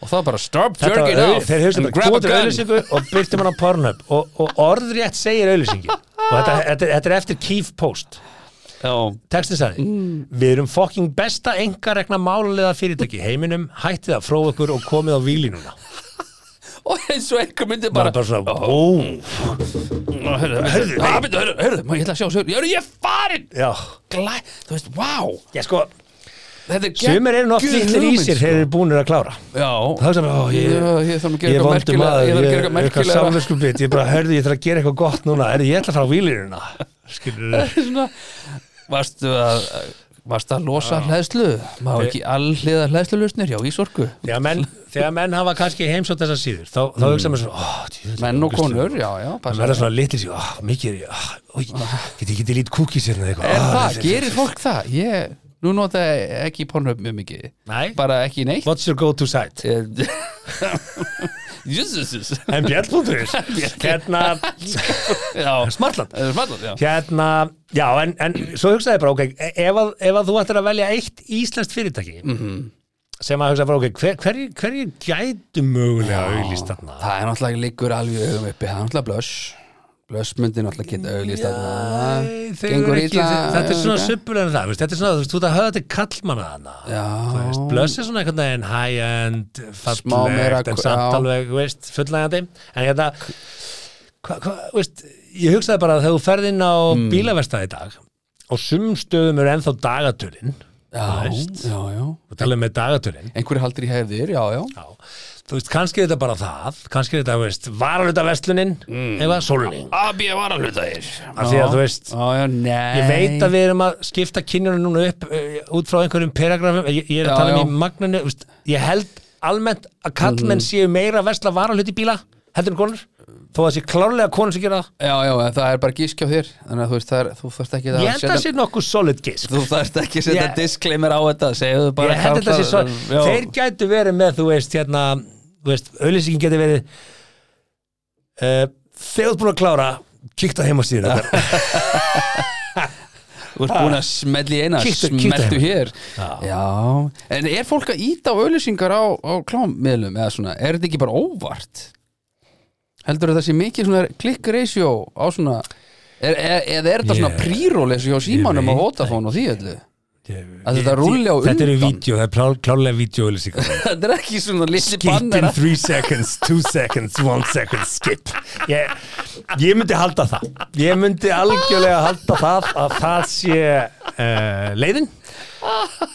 og það bara stop
Þetta
jerking
var au-
off
þeir hugstu
and
bara
grab a
kvotur
gun
auðlýsingu og byrtum hann á Pornhub og, og orðrétt segir auðlýsingi og þetta, þetta, er- þetta er eftir Keef Post
Já,
textin sagði
Mm.
við erum fokking besta engaregna málulega fyrirtæki í heiminum hættið að fróa ykkur og komið á výlínuna
og eins og einhver myndi
bara,
bara
bara svona,
Oh.
ó
Hörðu, hörðu, hörðu, hörðu, má ég ætla að sjá sögur Hörðu, ég er farin
já,
Glæ, þú veist, vá
já sko
Þetta er
sumir eru nátt
geggjuð
litlir í
hugmynd,
sér þegar
sko.
þeir eru búnir að klára
Já,
þá er það, ó, ég,
Já, ég þarf að gera
ég er
eitthvað
vondur
merkilega- ég
maður
þarf að gera
ég er
eitthvað
eitthvað
merkilegra.
samvinskupið ég bara, hörðu, ég þarf að gera eitthvað gott núna er, ég ætla að fara á výlínuna skilur þau
svona Varstu að Varstu að losa hlæðslu Má ekki allhliða hlæðslu lausnir Já, í sorgu
þegar menn, þegar menn hafa kannski heimsótt þessar síður þá, þá hugsa maður svona, ó, djöfull,
Menn og
ógeðslega.
konur, já, já
það
passa.
verða svona litið sér, ó, mikið er ég ó, ó, get ég getið lít kúkis hérna eða eitthvað
Ah. Er
Ó,
það,
þetta-
gerir fólk það Ég, nú nota ég ekki pornhöf mjög mikið
Nei.
Bara ekki neitt
what's your go to site
Jesus
mbl.is hérna,
Já,
smartland
smallan, já
hérna, já, en, en svo hugsaði ég bara, ok, e- ef að, ef að þú ættir að velja eitt íslenskt fyrirtæki sem að hugsaði bara, ok, hver, hverju hverju gætu mögulega auðlýst þarna
Það er náttúrulega liggur alveg í augum uppi Það er náttúrulega blöss Blöss myndi náttúrulega geta auglýst
Æ,
auðlýst
þeir eru ekki- þetta er svona subbur en það þú veist, þetta er svona, þú veist, þú ert að höfða til kallmanna þarna Þú veist,
Já
blöss er svona einhvern veginn high-end,
Smá meira-
fallegt en samt
já.
alveg, þú veist, fullnægjandi en hérna hva, hva, þú veist, ég hugsaði bara að þegar þú ferð inn á mm. bílaverstað í dag og sum stöðum eru ennþá dagatölin
Já,
veist.
já, já
og talaðum með dagatölin
Einhverju haldir í hefðir, já, já
Já. þú veist, kannski er þetta bara það kannski er þetta, þú veist, varaluta vestlunin mm. eða sólning
AB var alveg það er
Af því að þú veist-
Já, já, nei
Ég veit að við erum að skipta kynjunum núna upp uh, út frá einhverjum peragrafum ég, ég er
Já,
að tala um
já. Mhm.
í magnunni úst, ég held almennt að kallmenn séu meira að vesla varalhuti bíla heldur en konur þó að það sé klárlega konur sem gera það
Já, já, en það er bara gískjá þér Þannig að þú veist, það er, þú þarft ekki að
ég held að það sé nokkuð solid gisk
Þú þarft ekki að setja
Ég-
disclaimer á þetta Segðu bara
ég held að það sé
karlar-
solid
Já.
þeir gætu verið með þú veist hérna þú veist auðlýsingin geti verið uh, þegar þú ert búin að klára kíkta heim á síðan okkar
Þú ert búin að smelli í eina,
Kíktu- kíktu
smeltu
heim.
hér Já, en er fólk að íta á auðlýsingar á, á klámmiðlum eða svona, er þetta ekki bara óvart? Heldur þetta sé mikið svona click ratio á svona er, er, eða er þetta svona
Ég-
pre-roll eins og hjá símanum
veit
og Vodafone og því öllu? Að
þetta
þetta rúlli á
þetta eru
undan.
vídeo, það er plá- klárlega vídeo
þetta er ekki svona litli
skip in
bannara
three seconds, two seconds, one second, skip ég, ég myndi halda það ég myndi algjörlega halda það að það sé uh, leiðin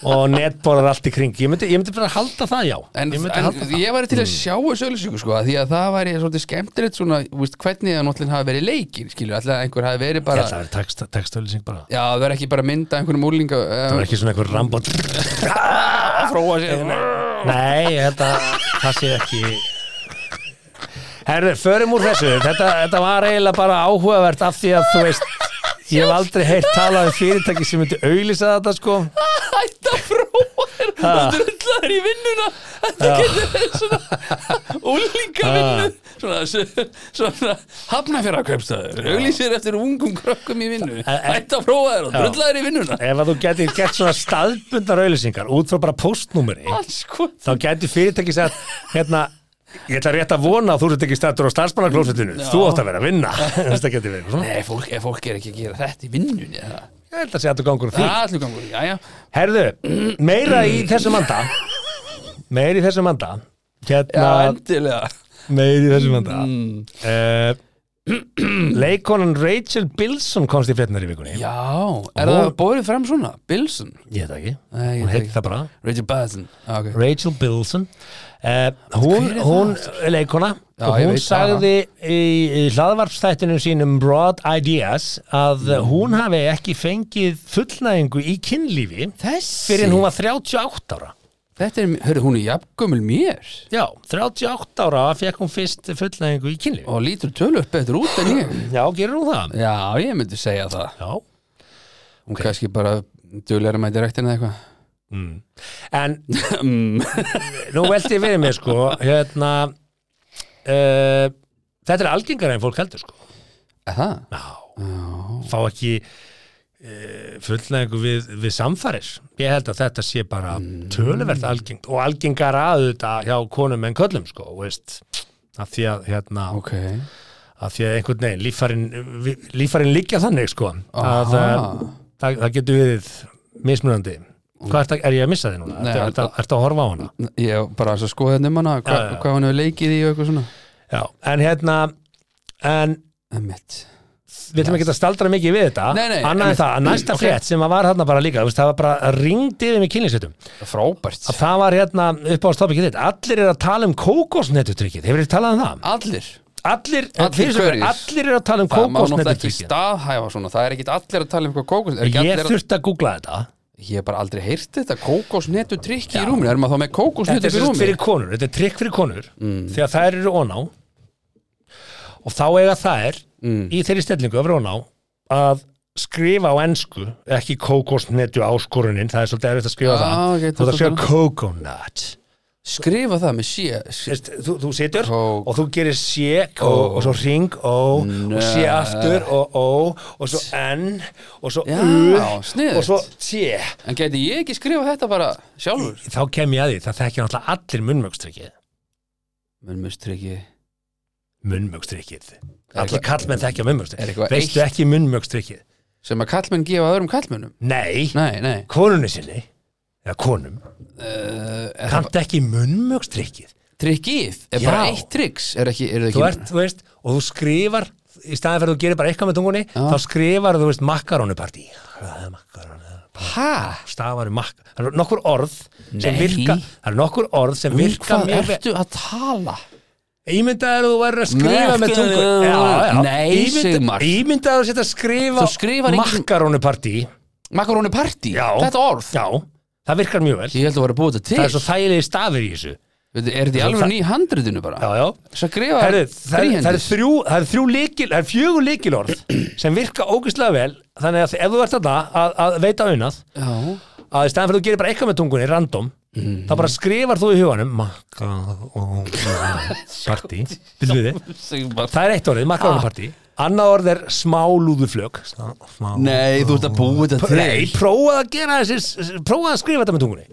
og netborar allt í kring ég myndi, ég myndi bara halda það, já
En,
ég
en
myndi halda það Mm.
ég væri til að sjá þessu öllisíku sko, af því að það væri svolítið skemmtilegt svona, þú veist, hvernig það náttúrulega hafi verið leikir, skilur, alltaf einhver hafi verið
ég
bara,
ætla að vera text, textauðlýsing bara
já, það verið ekki bara að mynda einhvernum úlinga,
það var ekki svona einhver rambot
að fróa sér
nei, þetta, það sé ekki herðu, förum úr þessu þetta, þetta var eiginlega bara áhugavert af því að þú veist Ég hef aldrei heyrt talað um fyrirtæki sem myndi auglýsa þetta sko
hætt að fróa þér og drullar í vinnuna þetta getur verið svona úlinga vinnu svona, svona hafnafjara kaupstæður auglýsir eftir ungum krökkum í vinnu hætt að fróa þér og drullar þér í vinnuna
Ef að þú getur gert svona staðbundar auðlýsingar út frá bara postnúmeri
alls sko
þá getur fyrirtæki sagt hérna, ég ætla rétt að vona að þú ert ekki stættur á starfsmannaklósettinu, þú átt að vera að vinna þetta getur verið svona
Nei, fólk, ef fólk er ekki að gera þetta í vinnunni eða
Ég held að segja að þú gangur á því
Það er allir gangur, já, já
Herðu, meira í þessum anda meira í þessum anda
Já,
hérna,
endilega
meira í þessum anda uh, leikonan Rachel Bilson komst í frétnar í vikunni
Já, er það
Og-
bórið fram svona? Bilson?
ég veit það ekki,
Nei, ég
hún
veit
heitir
ekki.
það bara
Richard Bilson ah, okay.
Rachel Bilson uh, hún,
Hver er það
hún leikona
Já,
og
ég
hún
veit það.
sagði í, í hlaðvarpstættinum sínum Broad Ideas að hún hafi ekki fengið fullnæðingu í kynlífi
Þessi
fyrir en hún var 38 ára
Þetta er, hörru, hún er jafngömmul mér
já, 38 ára fekk hún fyrst fullnæðingu í kynlífi
og lítur tölu upp betur út en ég
já, gerur hún það?
Já, ég myndi segja það
já,
Hún kannski bara duðlega mæti rektin eða eitthvað
en Mm. nú veldi ég verið mér sko hérna uh, Þetta er algengara en fólk heldur sko
Er það?
Já, fá ekki e, fullnæðingu við, við samfæris ég held að þetta sé bara töluvert algengt og algengar að þetta hjá konum en köllum sko þú veist, að því að hérna
Ok
að því að einhvern veginn líffarin, líffarin liggja þannig sko að
Aha.
eh, það, það getur við mismunandi Hvað er, er ég að missa þig núna?
Nei,
Ertu ertu- ertu að horfa á hana?
Ég bara að skoða hérna um hana hva,
Já, já.
Hvað hann hefur leikið í og eitthvað svona
Já, en hérna en
Emmett
við ætlum ekki að staldra mikið við þetta
Nei, nei,
annað en
einmitt.
það, að næsta
Ok.
frétt sem að var þarna bara líka, þú veist, það var bara ringdi yfir mig kynlýsveitum,
Frábært
að það var hérna upp á stopikið þitt, allir er að tala um kókosnetutrykkið, hefur þið talað um það?
Allir
Allir,
Allir
fyrir sem
hverjir?
fyrir, allir er að tala um
Það má náttúrulega ekki
kókosnetutrykkið
staðhæfa svona Það er ekki allir að tala um eitthvað kókos er ekki
ég
allir að-
þurfti að googla þetta
Ég hef bara aldrei heyrt þetta Kókosnetu trikki í rúminu Er maður þá með
þetta
kókosnetu
er
í
sem sagt
rúminu?
fyrir konur, þetta er trikk fyrir konur þegar þær eru oná og þá eiga þær
Mm.
í þeirri stellingu að vera oná að skrifa á ensku ekki kókosnetu áskorunin það er svolítið erfitt að skrifa
Ah,
það
ok,
þú þarf að skrifa
tók-
coconut
Skrifa það með sé sé-
Veist, þú, þú situr
Kók.
og þú gerir sé kó, og svo ring ó og sé aftur og ó og svo n og svo
Já,
u
sniðugt.
og svo t
En geti ég ekki skrifa þetta bara sjálfur?
þá kem ég að því, það þekkja náttúrulega allir munnmögstrykkið
Munnmustriki
munnmögstrykkið
eitthvað-
allir kallmenn þekkja
Er
munnmögstrykkið
eitthvað
veistu ekki munnmögstrykkið
Sem að kallmenn gefa öðrum kallmennum
nei,
Nei, nei
konunni sinni eða konum,
uh,
kanntu ekki munnmögstrykkið
Trikkið er
Já.
bara eitt triks Er, ekki, er það ekki
þú ert, þú veist, og þú skrifar í staðan fyrir að þú gerir bara eitthvað með tungunni þá skrifar þú veist makkarónupartí makkarónupartí
Hæ?
stafar um makk það eru nokkur orð sem
Nei.
virka það eru nokkur orð sem virka
Hvað
mjög vel
ertu að tala?
ímyndaður þú væri að skrifa
Nei,
með tungu
ekki- Nei, Sigmar.
ímyndaður ímyndaðu þú sétt að
Þú skrifar
skrifa
engin-
makkarónupartí
Makaróni partí?
Já.
Þetta orð?
Já, það virkar mjög vel
Ég held að vera búið þetta til
Það er svo þægilegi stafir í þessu
Veitu, Er þetta í alveg ný handritinu bara?
Já, já
Svo skrifa
Herri, það, er, það, er
þríhendis
þrjú, það er þrjú líkil, það er fjögur líkilorð sem virka ógeðslega vel þannig að ef þú ert þarna að, að veita unnað
Já,
að í staðan fyrir að þú gerir bara eitthvað með tungunni random, þá bara skrifar þú í huganum makka og partí, byrðu við þið
Sigmar
það er eitt orðið, makka og partí annað orð er smálúðuflög Smá-
Nei, þú ert að búið þetta til
Nei, prófaðu að gera þessi prófaðu að skrifa þetta með tungunni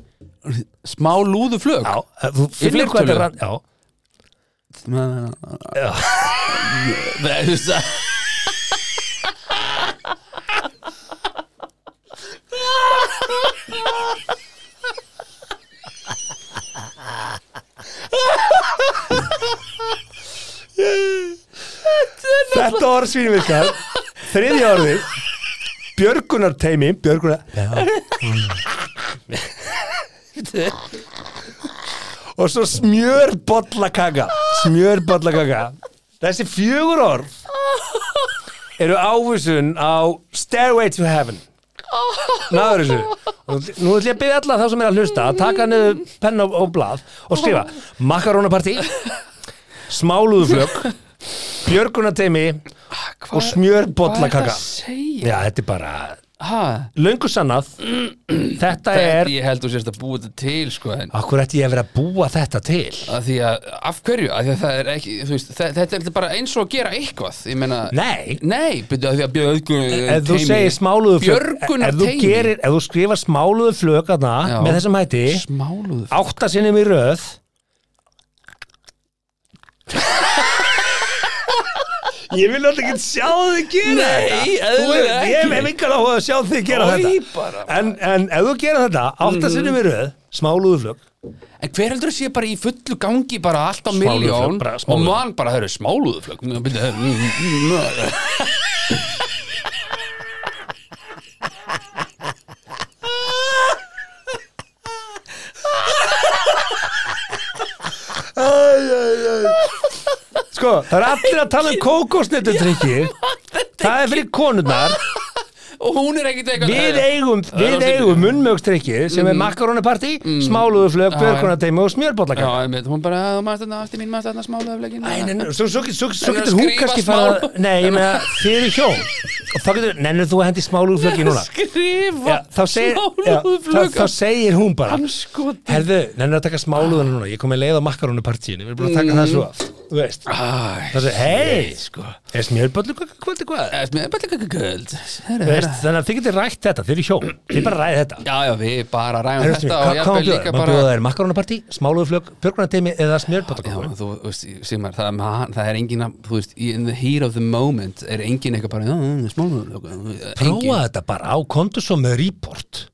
Smá lúðu flög
Já, þú finnir hvað þetta er ran- Já,
Nei,
já
þú veist það
Þetta orð svínvirkar Þriðja orði Björgunar teimi Björgunar Og svo smjörbollakaka Smjörbollakaka Þessi fjögur orð Eru ávísun á Stairway to Heaven Náður þessu Og Nú ætlum ég að byrja alla þá sem er að hlusta að taka niður penna og, og blað og skrifa Makarónapartí Smáluðuflögg Björgunateimi og
Hvað er það
smjörbollakaka
að segja?
Já, þetta er bara
Ha?
löngu sannað Þetta
Þetta
er
ég held þú sérst að búið þetta til sko en
Akkur ætti ég að vera að búa þetta til
að því að, af hverju, af því að það er ekki þú veist, þe- þetta er bara eins og að gera eitthvað ég meina,
Nei,
nei byrju að því að björgun
ef þú segir smáluðuflögg
björgunar
Ef þú gerir, ef þú skrifar smáluðuflögg þarna
Já.
með þessum hætti
smáluðu
átta sinnum í röð Ég vil alltaf ekki sjá þig gera
Nei,
þetta Þú
eðlilega
er- Ég
ekki.
hef engan áhuga að sjá þig gera
Oj,
þetta
bara, Mm.
en, en ef þú gera þetta átta sinnum í röð, smáluðuflögg
en hver heldur að sé bara í fullu gangi bara allt á
Smáluðuflögg,
miljón
bara
og
smáluðuflögg.
mann bara, það eru smáluðu flögg það
Sko, það er allir að tala um kókosnettutrykki Það er fyrir konurnar
og hún er ekkit eitthvað
Við eigum,
er
við
rosa-
eigum munnmögstrykki sem er makarónapartí, smáluðuflög,
Mm. Já,
björgunateimi og smjörbóllakar
já, einmitt, hún bara, þú mannst þarna allt í mín mannst þarna smáluðu flöggin
Æ, nei, nei, svo, svo, svo, svo
En að
getur hún
skrifa
kannski
smál-
fara Nei, ég meina, þið eru hjón og þá getur, nennir þú að hendi smálugflöggi núna
skrifa
já, þá, segir, já,
smáluðu
þá,
flögg
þá segir hún bara
Andskotinn.
Herðu, nennir að taka smáluguna núna Ég kom með leið á makkarónu partíinu Við erum búin að taka það svo af þú veist
Æ,
Það er, hei,
Mm. sko
er smjörböllu kvöldi hvað?
Ertu með bara eitthvað göld?
Þú Veist, þannig að þið getur rætt þetta, þið eru hjón Þið bara ræði þetta
Já, já, við bara ræðum
Herru, Stefán,
þetta og
Hvað hvað má
jafnvel
bjóða?
líka
Má
bara
bjóða þær makarónapartí, smáluðuflög, björgrunateymi eða
Já,
smjörböllu
þú veist, Sigmar, það, ma- það er engin að, þú veist, in the heat of the moment er engin eitthvað bara, já, smálmöður
Prófa þetta bara á kontus og með report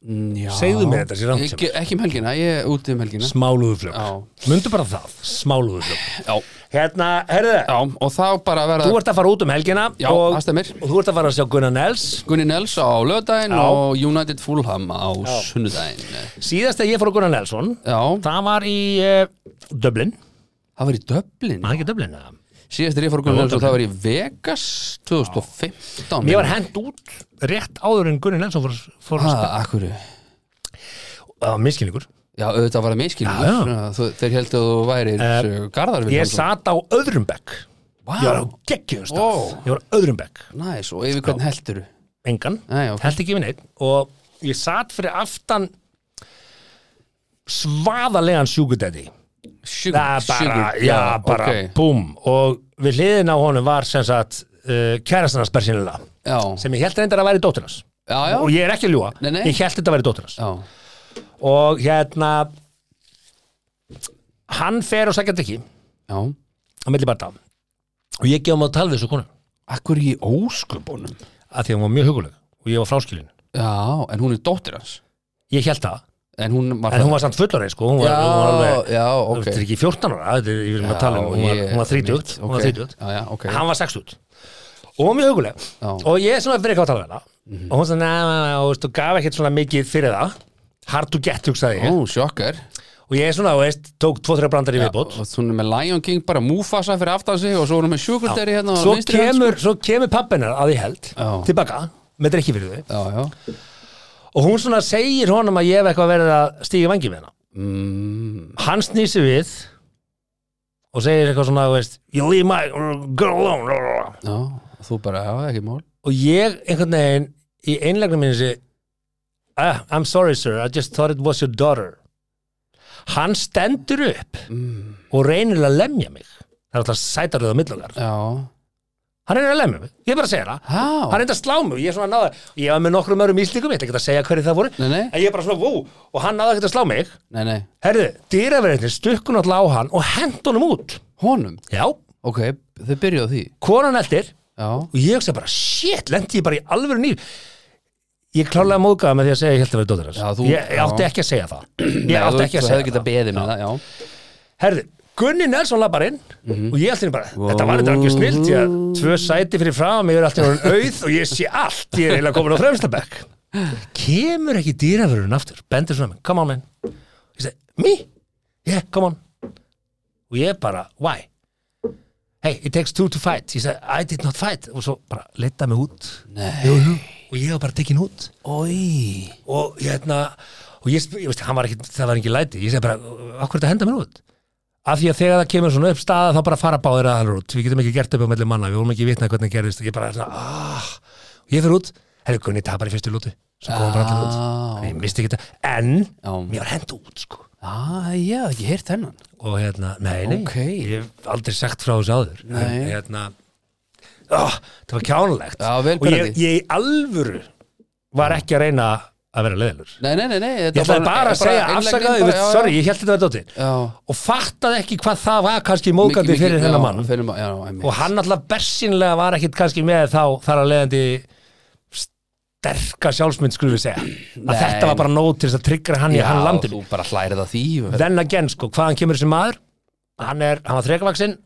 Segðu mér þetta, sér rangt sem
Mm, Ekki, ekki um helgina, ég er úti um helgina Já.
Smáluðuflög Mundu bara það, smáluðuflög
Já,
Hérna, herðu,
já, og þá bara verða
þú ert að fara út um helgina
Já,
og,
það stemmir.
og þú ert að fara að sjá Gunnar Nels
Gunni Nels á lögdæn
Já.
og United Fulham á sunnudæn
Síðast að ég fór á Gunnar Nelsson
Já,
Það var í uh, Dublin
það var í Dublin
Var það ekki Dublin, eða?
Síðast er ég fór okkur Nels og það var í Vegas 2015
Mér var hend út rétt áður en Gunnar Nelsson fór, fór að
Ah, akkurru
spila Miskinningur
Já, auðvitað var
Já,
það
já.
miskilningur Þú- Þeir heldur að þú værir uh, Garðar
Ég
Vilhjálmsson.
sat á öðrum bekk
Vá.
Ég var á geggjum stað
Ó.
Ég var á öðrum bekk,
Næs, og yfir hvern heldur
engan
Nei, já, ok.
Held ekki minn einn Og ég sat fyrir aftan Svaðalegan sjúkudæti
Sugar,
Það bara, já, bara,
ok.
búm Og við hliðin á honum var sem sagt uh, Kærastana spersinlega
Já,
Sem ég held reyndar að væri dóttir hans
já, já,
Og ég er ekki að ljúga,
Nei, nei.
ég held þetta að væri dóttir hans
já.
Og hérna Hann fer og sækja ekki
já.
á milli barða og ég gefum að tala við þessu konu
Akkur í ósköpunum
að því að hún var mjög huguleg og ég var fráskilin
Já, en hún er dóttir hans
ég held það,
En hún var
en hún var samt fullorðin sko, hún var,
Já,
hún var alveg
já, ok
þetta er ekki 14 ára, þetta er yfir að tala um hún var,
ég-
hún var 30,
mitt,
hún var
ok.
30
Já, já, ok
hann var 60 og hún var mjög huguleg
Já.
og ég er svona fyrir eitthvað að tala við hana
Mhm.
og hún svona, "Nei, nei, nei," og veist, og gaf ekkert svona mikið fyrir það hard to get, hugsaði ég
Ó, sjokkar
og ég er svona, þú veist, tók 2-3 brandar í viðbót
Og hún er með Lion King bara Mufasa fyrir aftan sig Og svo er hún með Sugar Daddy hérna á
svo
vinstri hönd,
kemur, svo kemur pappina að ég held,
Já.
tilbaka með drikki fyrir þau
sko. Já, já
og hún svona segir honum að ég hef eitthvað verið að stíga vangi með hana
mm,
hann snýr sig við og segir eitthvað svona þú veist, you leave my girl alone blah, blah, blah.
Já, þú bara, já, ekki mál
og ég einhvern veginn í einlegna minni segi ah, I'm sorry sir, I just thought it was your daughter hann stendur upp og reynir að lemja mig það er alltaf sætaröð á millogar
Já
hann reynir að lemja mig, ég er bara að segja það
Há
hann reynir að slá mig, ég er svona náða ég var með nokkrum örum íslíkum, ég ætla ekki að segja hverju það voru
Nei, nei.
en ég er bara svona, vó, og hann náða ekki að slá mig
Nei, nei,
herðu, dýraverðin stukkun alltaf á hann og hend honum út
honum
já,
Ok, þau byrjuðu á því
konan eldir
Já,
og ég hugsa bara, shit, lendi ég bara í alvöru nýr ég klárlega móðgæða með því að segja ég held að vera dóttir hans
Já, þú-
ég, ég átti
já.
ekki að segja það ég átti ekki að
Þú hefði
segja
getað
það
beðið með það, já
herði, Gunni Nelson lappar inn og ég alltaf bara, þetta var þetta ekki snilt því að tvö sæti fyrir frá mig, ég er alltaf orðin auð og ég sé allt, ég er eiginlega komin á fremstabæk kemur ekki dýravörun aftur bendur svona, með, come on man ég segi, me? Yeah, come on og ég bara, why? hey, it takes two to fight ég segi, I did not fight og svo bara leita mig út
Nei.
jú, jú. og ég var bara tekin út
Ói
og hérna og ég, sp- ég veist, hann var ekki, það var ekki læti ég segi bara, akkur þetta henda mér út af því að þegar það kemur svona upp staða þá bara fara báðir aðalur út, við getum ekki gert upp á melli manna við vorum ekki vitnað hvernig gerðist ég bara, svona, ah, og ég fyrir út herri, Gunni tapar í fyrstu lútu svo komum bara allir út
Ah.
Þannig ég misti ekki þetta, en
Já.
mér var henda út sko
Ah, já, ég heyrt hennan
og hérna, nei, nei,
Ok.
ég hef aldrei sagt frá þessu áður
Nei.
En, hérna, ó, það var kjánulegt
Já, vel
og ég,
pirrandi.
ég í alvöru var ekki að reyna að vera leðilur
Nei, nei, nei, nei
ég ætlaði bara að segja, afsakaði, bara, já, sorry, ég held þetta var dóttir og fattaði ekki hvað það var kannski mókandi fyrir þennan mann
fyrir, ma- já, einmitt.
og hann alltaf bersinlega var ekkit kannski með þá þar að leiðandi sterka sjálfsmynd skulum við segja að
Nei.
þetta var bara nót til þess að tryggra hann í hann landinu
þú bara hlærið að því
Then again, sko, hvaðan kemur þessi maður hann er, hann var þrekavaksinn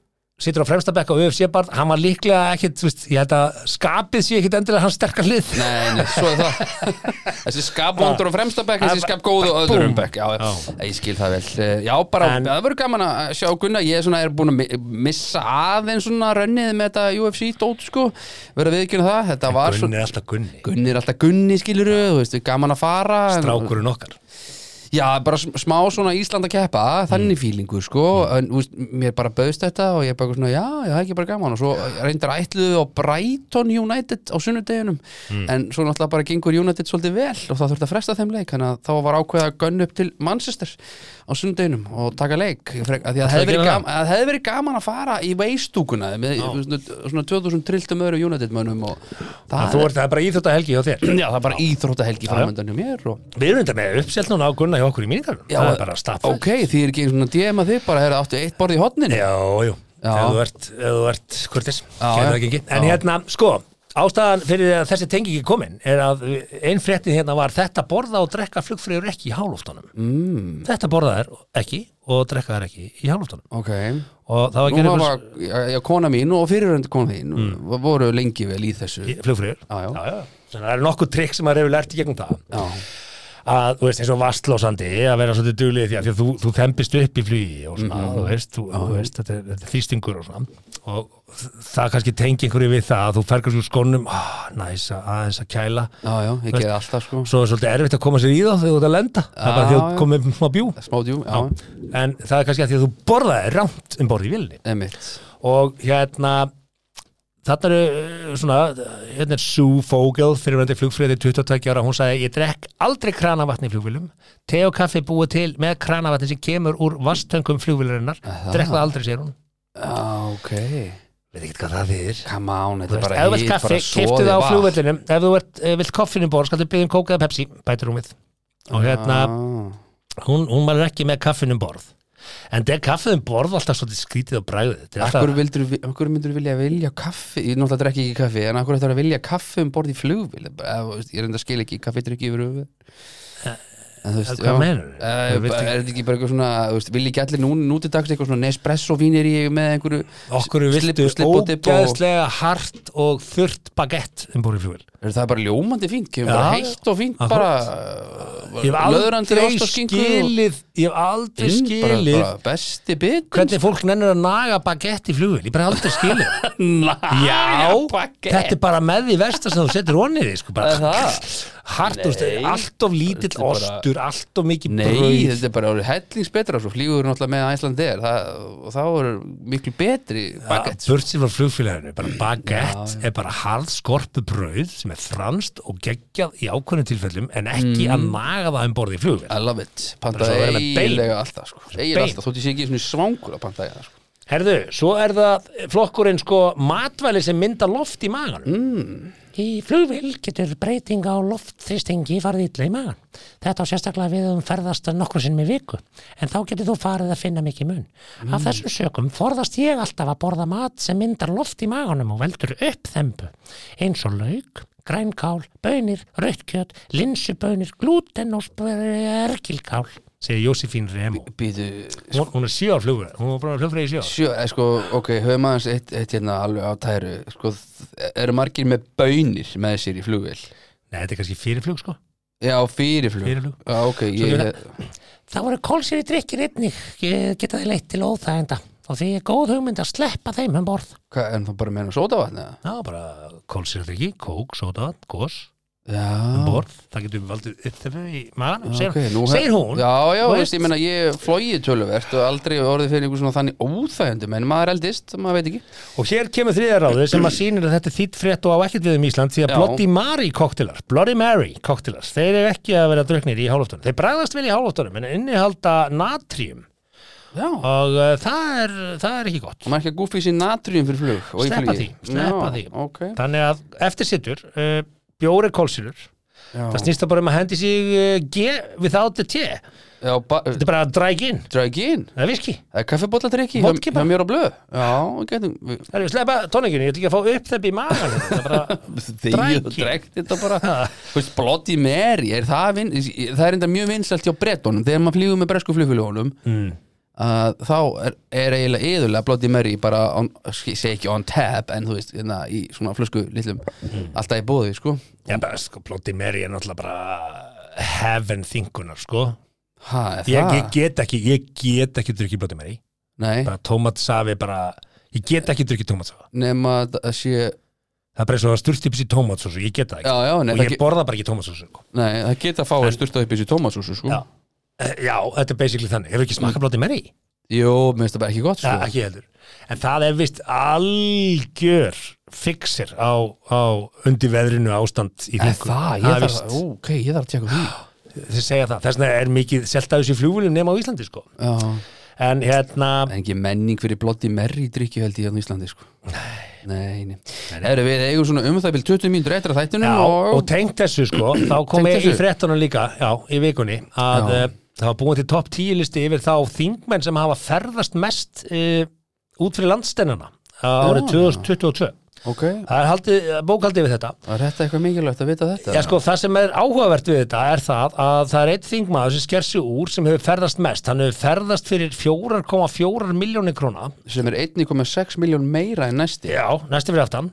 situr á fremsta bekk á UFC barð hann var líklega ekkit, þú veist, ég held að skapið sé ekkit endilega hans sterka hlið
Nei, nei, svo er það Þessi skap vondur á fremsta bekk, þessi skap góð á
Ah,
öðrum
Búm.
bekk Já, já, ég skil það vel Eh, Já, bara,
En-
það verður gaman að sjá Gunna Ég er svona, er búin að mi- missa aðeins svona rönnið með þetta UFC-dót, sko Verða við ekki það, þetta var svo
Gunni er alltaf Gunni,
Gunni er alltaf Gunni, skilur þú veist, gaman að fara en-
strákurinn okkar
Já, bara sm- smá svona Ísland að keppa
Mm.
þannig fílingur sko en, úst, mér bara bauðst þetta og ég bara svona já, já, það er ekki bara gaman og svo reyndar ætluðu á Brighton United á sunnudeginum
Mm.
en svo náttúrulega bara gengur United svolítið vel og það þurfti að fresta þeim leik þannig að þá var ákveða að gönn upp til Manchester á sunnudeginum og taka leik frek, að því
Ætlarðu að
að hefði verið,
gera
gam, að hefði verið gaman að fara í veistúkuna með svona, svona 2000 trilltum öru United mönnum og það,
Þú ert það er bara íþjóta helgi hjá þér
já, það er bara íþróttahelgi
já.
framöndan hjá mér og
Við erum þetta með uppselt núna á Gunna hjá okkur í míningarnum
Já,
Það er bara að stappa
Ok, því er ekki svona DM að þið bara hefur áttu eitt borð í hotninu
Já, jú,
Já.
ef þú ert, ef þú ert kurtis,
Já,
getur
já.
það ekki En
Já.
hérna, sko, ástæðan fyrir því að þessi tengi ekki komin er að einn fréttin hérna var þetta borða og drekka flugfreyjur ekki í hálóftunum mm. Þetta borða er ekki og drekka er ekki í hálóftunum
Ok,
og það var
nú
ekki
var bara, já, já, kona mín og fyrirrönd kona þín
Mm.
voru lengi vel í þessu Já,
flugfreyjur
já, já,
Þannig að það er nokkuð trikk sem maður hefur lært í gegnum það að, þú veist, eins og vastlósandi að vera svolítið duglið í því að, því að þú, þú þembist upp í flugi og svona,
Mhm.
þú veist, þú, þú veist þetta, er, þetta er þýstingur og svona og þ- það kannski tengi einhverju við það að þú fergur svo skónum, ah, næs að- aðeins að kæla
já, já, ég gerði alltaf sko
svo er svolítið erfitt að koma sér í þá þegar þú ert að lenda það er bara því að
Já,
þú
já.
komið með smá bjú
Smádjú, já,
en það er kannski að því að þú borðaði rámt um borð í vilni
emitt
og hérna þarna eru uh, svona hérna er Sue Fogel, fyrirvændi flugfröði 22 ára, hún sagði ég drekk aldrei kranavatni í flugvílum te og kaffi búið til með kranavatni sem kemur úr vastöngum flugvílarinnar
Aha.
drekk það aldrei, segir hún
Já, ok,
veit ekki hvað það þýðir
come on,
Þú
þetta er
veist,
bara
ef þú vilt
hít,
kaffi,
bara
keftu
soðið
það á
vatn.
flugvellinum ef þú ert, eh, vilt koffinu bór, skaltu byggja um kókaða pepsi bætir hún við og hérna,
Ah.
hún, hún mælir ekki með kaffinu um borð en það er kaffið um borð alltaf svolítið skrítið og bræðið Þetta er alltaf-
Akkur vildur, akkur myndur vilja vilja kaffi Ég náttúrulega drekki ekki kaffi En akkur ætlar að vilja kaffi um borð í flugvél Ég er enda að skil ekki, kaffi drikki yfir höfuð En þú veist,
Eh, Hvað
já.
meinarðu?
Eh,
Þú vilt
bara-
ekki-
Er þetta ekki bara eitthvað svona þú veist, Vilja ekki allir núna nútidags eitthvað svona Nespresso vínir í með einhverju
Okkur er
slip-
viltu
slip og dip og-
ógeðslega hart og þurrt bagett um búrið fjöl.
Er það bara ljómandi fínt, kemur
Já,
bara
já.
heitt og fínt
Akkurat.
Bara
Ég hef
löðrandi
aldrei
ost og skinku og-
skilið, ég hef aldrei
Inn, bara-
skilið
bara Besti bit
hvernig fólk nennir að naga bagett í fjöl. Ég hef bara aldrei skilið. það. Já, þetta er bara með því versta sem þú setur onnið því, sko,
Er
bara
það?
hart, þú veist,
Nei.
allt of lítill
Þetta er bara-
ostur, allt of mikið
Nei,
brauð.
þetta er bara orðið hellings betra svo flýgur náttúrulega með Æsland er og þá er miklu betri bagett
Burt sem var flugfélaginu, bara bagett er bara harð skorpu brauð sem er franst og geggjað í ákvörnum tilfellum en ekki
Mm.
að naga það um borðið í flugvél.
I love it,
Bara svo
pantaði
að vera með bein.
eiginlega alltaf sko. eiginlega
Bein.
alltaf, þótt ég sé ekki svona svangur að pantaði það sko.
Herðu, svo er það flokkurinn sko matvæli sem mynda loft í magan. Mm. Í flugvill getur breyting á loftþristingi farið illa í magan. Þetta á sérstaklega við um ferðast nokkur sinnum í viku, en þá getur þú farið að finna mikið mun. Af þessum sökum forðast ég alltaf að borða mat sem myndar loft í maganum og veldur upp þembu, eins og lauk, grænkál, bönir, rautkjöt, linsubönir, glúten og erkilkál, segir Jósefín Remo.
býtu,
Hún, hún er sjö á flugur, hún var bara flugfræði sjö.
sjö, eh, sko, ok, höfum aðeins eitt, eitt hérna alveg á tæru sko, þ- eru margir með bönir með sér í flugvél
Nei, þetta er kannski fyrirflug sko
já, fyrir flug,
Fyrir flug.
Já, ok, ég,
Það voru kólsýri drikkir einnig eh, geta þið leitt til óþægenda og því er góð hugmynd að sleppa þeim um borð
hva, en það bara meina sótavatn eða?
Já, bara kólsýri drikki, kók, sóta, gos um
já,
borð, það getur valdið upptöfu í maganum, segir,
Ok, nú hef-
segir hún
Já, já,
Þú
veist, ég meina, ég flóið töluvert og aldrei orðið fyrir einhver svona þannig óþægjandum en maður eldist, maður veit ekki
Og hér kemur þriðaráðið sem að sýnir að þetta er þýtt frétt og á ekkert við um Ísland því að
Já.
Bloody Mary koktelar, Bloody Mary koktelar, þeir eru ekki að vera druknir í hálóftunum. Þeir bræðast vel í hálóftunum en innihalda natrium
Já,
og uh, það, er, það er ekki gott.
maður ekki að gúfi sér natrium fyrir flug og í
Sleppa
flugi.
því, sleppa
já,
því.
Ok,
Þannig að eftir sittur, uh, bjóri kólsýrur,
já,
það snýst það bara um að hendi sig uh, G without the T. Þetta
já ba-
er bara að dræk inn,
drag in,
það er viski.
það er kaffibóllatrykki
Vodka
hjá
bara.
hjá mér á blöð Já, getum við-
Það er við slepa tóninginu, ég ætla ekki að fá upp þeim í magan. Það er bara
Þegiðu og
Drag in.
dregt þetta bara Þú veist, Bloody Mary, er það, vin, það er enda mjög vinsælt hjá brettunum þegar maður flýgur með bresku flugfélagunum mm. þá er, er eiginlega yðurlega Bloody Mary bara, on, ég segi ekki on tap en þú veist, hérna, í svona flösku litlum,
Mm.
alltaf í bóði, sko
Já, bara, sko, Bloody Mary er náttúrulega bara heaven þingunar, sko.
Ha, er
Ég,
það?
ég get ekki, ég get ekki drukkið Bloody Mary.
Nei,
Bara tómatsafi, bara, ég get ekki drukkið tómatsafa.
nema að það sé Já,
Það er bara eins og að sturti upp sér tómatsósu, ég get það ekki.
já, nei,
og
það
ég
ge-
borða bara ekki tómatsósu, sko.
Nei, það geta að fá að sturta upp í þessu tómatsúsu sko.
Já. Eh, Já, þetta er basically þannig. Hefur ekki smakka blóti meiri?
Jú, mér finnst það bara ekki gott
Ja,
sko.
ekki heldur. En það er vist algjör fixir á, á undir veðrinu ástand í
En
þingu.
það, ég þarf
vist-
að, ok, ég þarf að tjekka á því
Þeir segja það. Þess vegna er mikið selt af þessu fljúvulum nema á Íslandi, sko.
Já,
En hérna,
en ekki menning fyrir blotti merri drikju held ég hérna í Íslandi sko Nei, nei, Heru, við eigum svona um það byrjum 20 mínútur eftir að þættunum
já,
og,
og tengt þessu, sko, þá kom
Tengt
ég í
þessu.
frettunum líka, já, í vikunni, að
Já.
já. það var búin til topp 10 listi yfir þá þingmenn sem hafa ferðast mest uh, út fyrir landstennana árið 2022.
Ok,
Það er haldið, bókaldið við þetta.
var þetta eitthvað mikilvægt að vita þetta?
Já, sko, það sem er áhugavert við þetta er það að það er einn þingmaður sem sker sig úr sem hefur ferðast mest. Hann hefur ferðast fyrir 4,4 miljónir króna.
Sem er 1,6 miljón meira en næsti
Já, næstu fyrir aftan.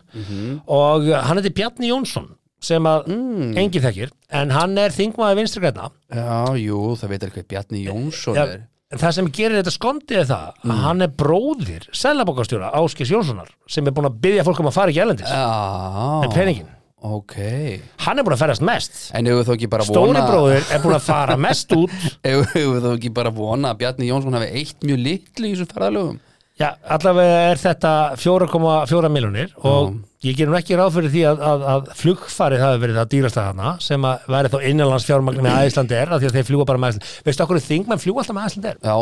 Og uh, hann heiti Bjarni Jónsson sem að mm. engi þekkir. En hann er þingmaður vinstri græna.
Já, jú, það veit eitthvað Bjarni Jónsson
Já,
er
Það sem gerir þetta skondið er það að hann er bróðir Sælabokastjóra Áskis Jónssonar sem er búin að byggja fólk um að fara ekki elendis.
Já,
En peningin,
ok
hann er búin að ferðast mest.
En hefur þó ekki bara
Stóri
vona
bróðir er búin að fara mest út
Ef ef við þá ekki bara vona að Bjarni Jónsson hafi eitt mjög litlu í þessu ferðalögum
Já, allavega er þetta 4,4 miljonir og ég gerum ekki ráð fyrir því að, að, að flugfarið hafi verið það dýrasta þarna sem að væri þá innanlands fjármagn með Æslandir af því að þeir fljúa bara með Æslandir Veistu okkur þingmenn fljúa alltaf með Æslandir?
Já,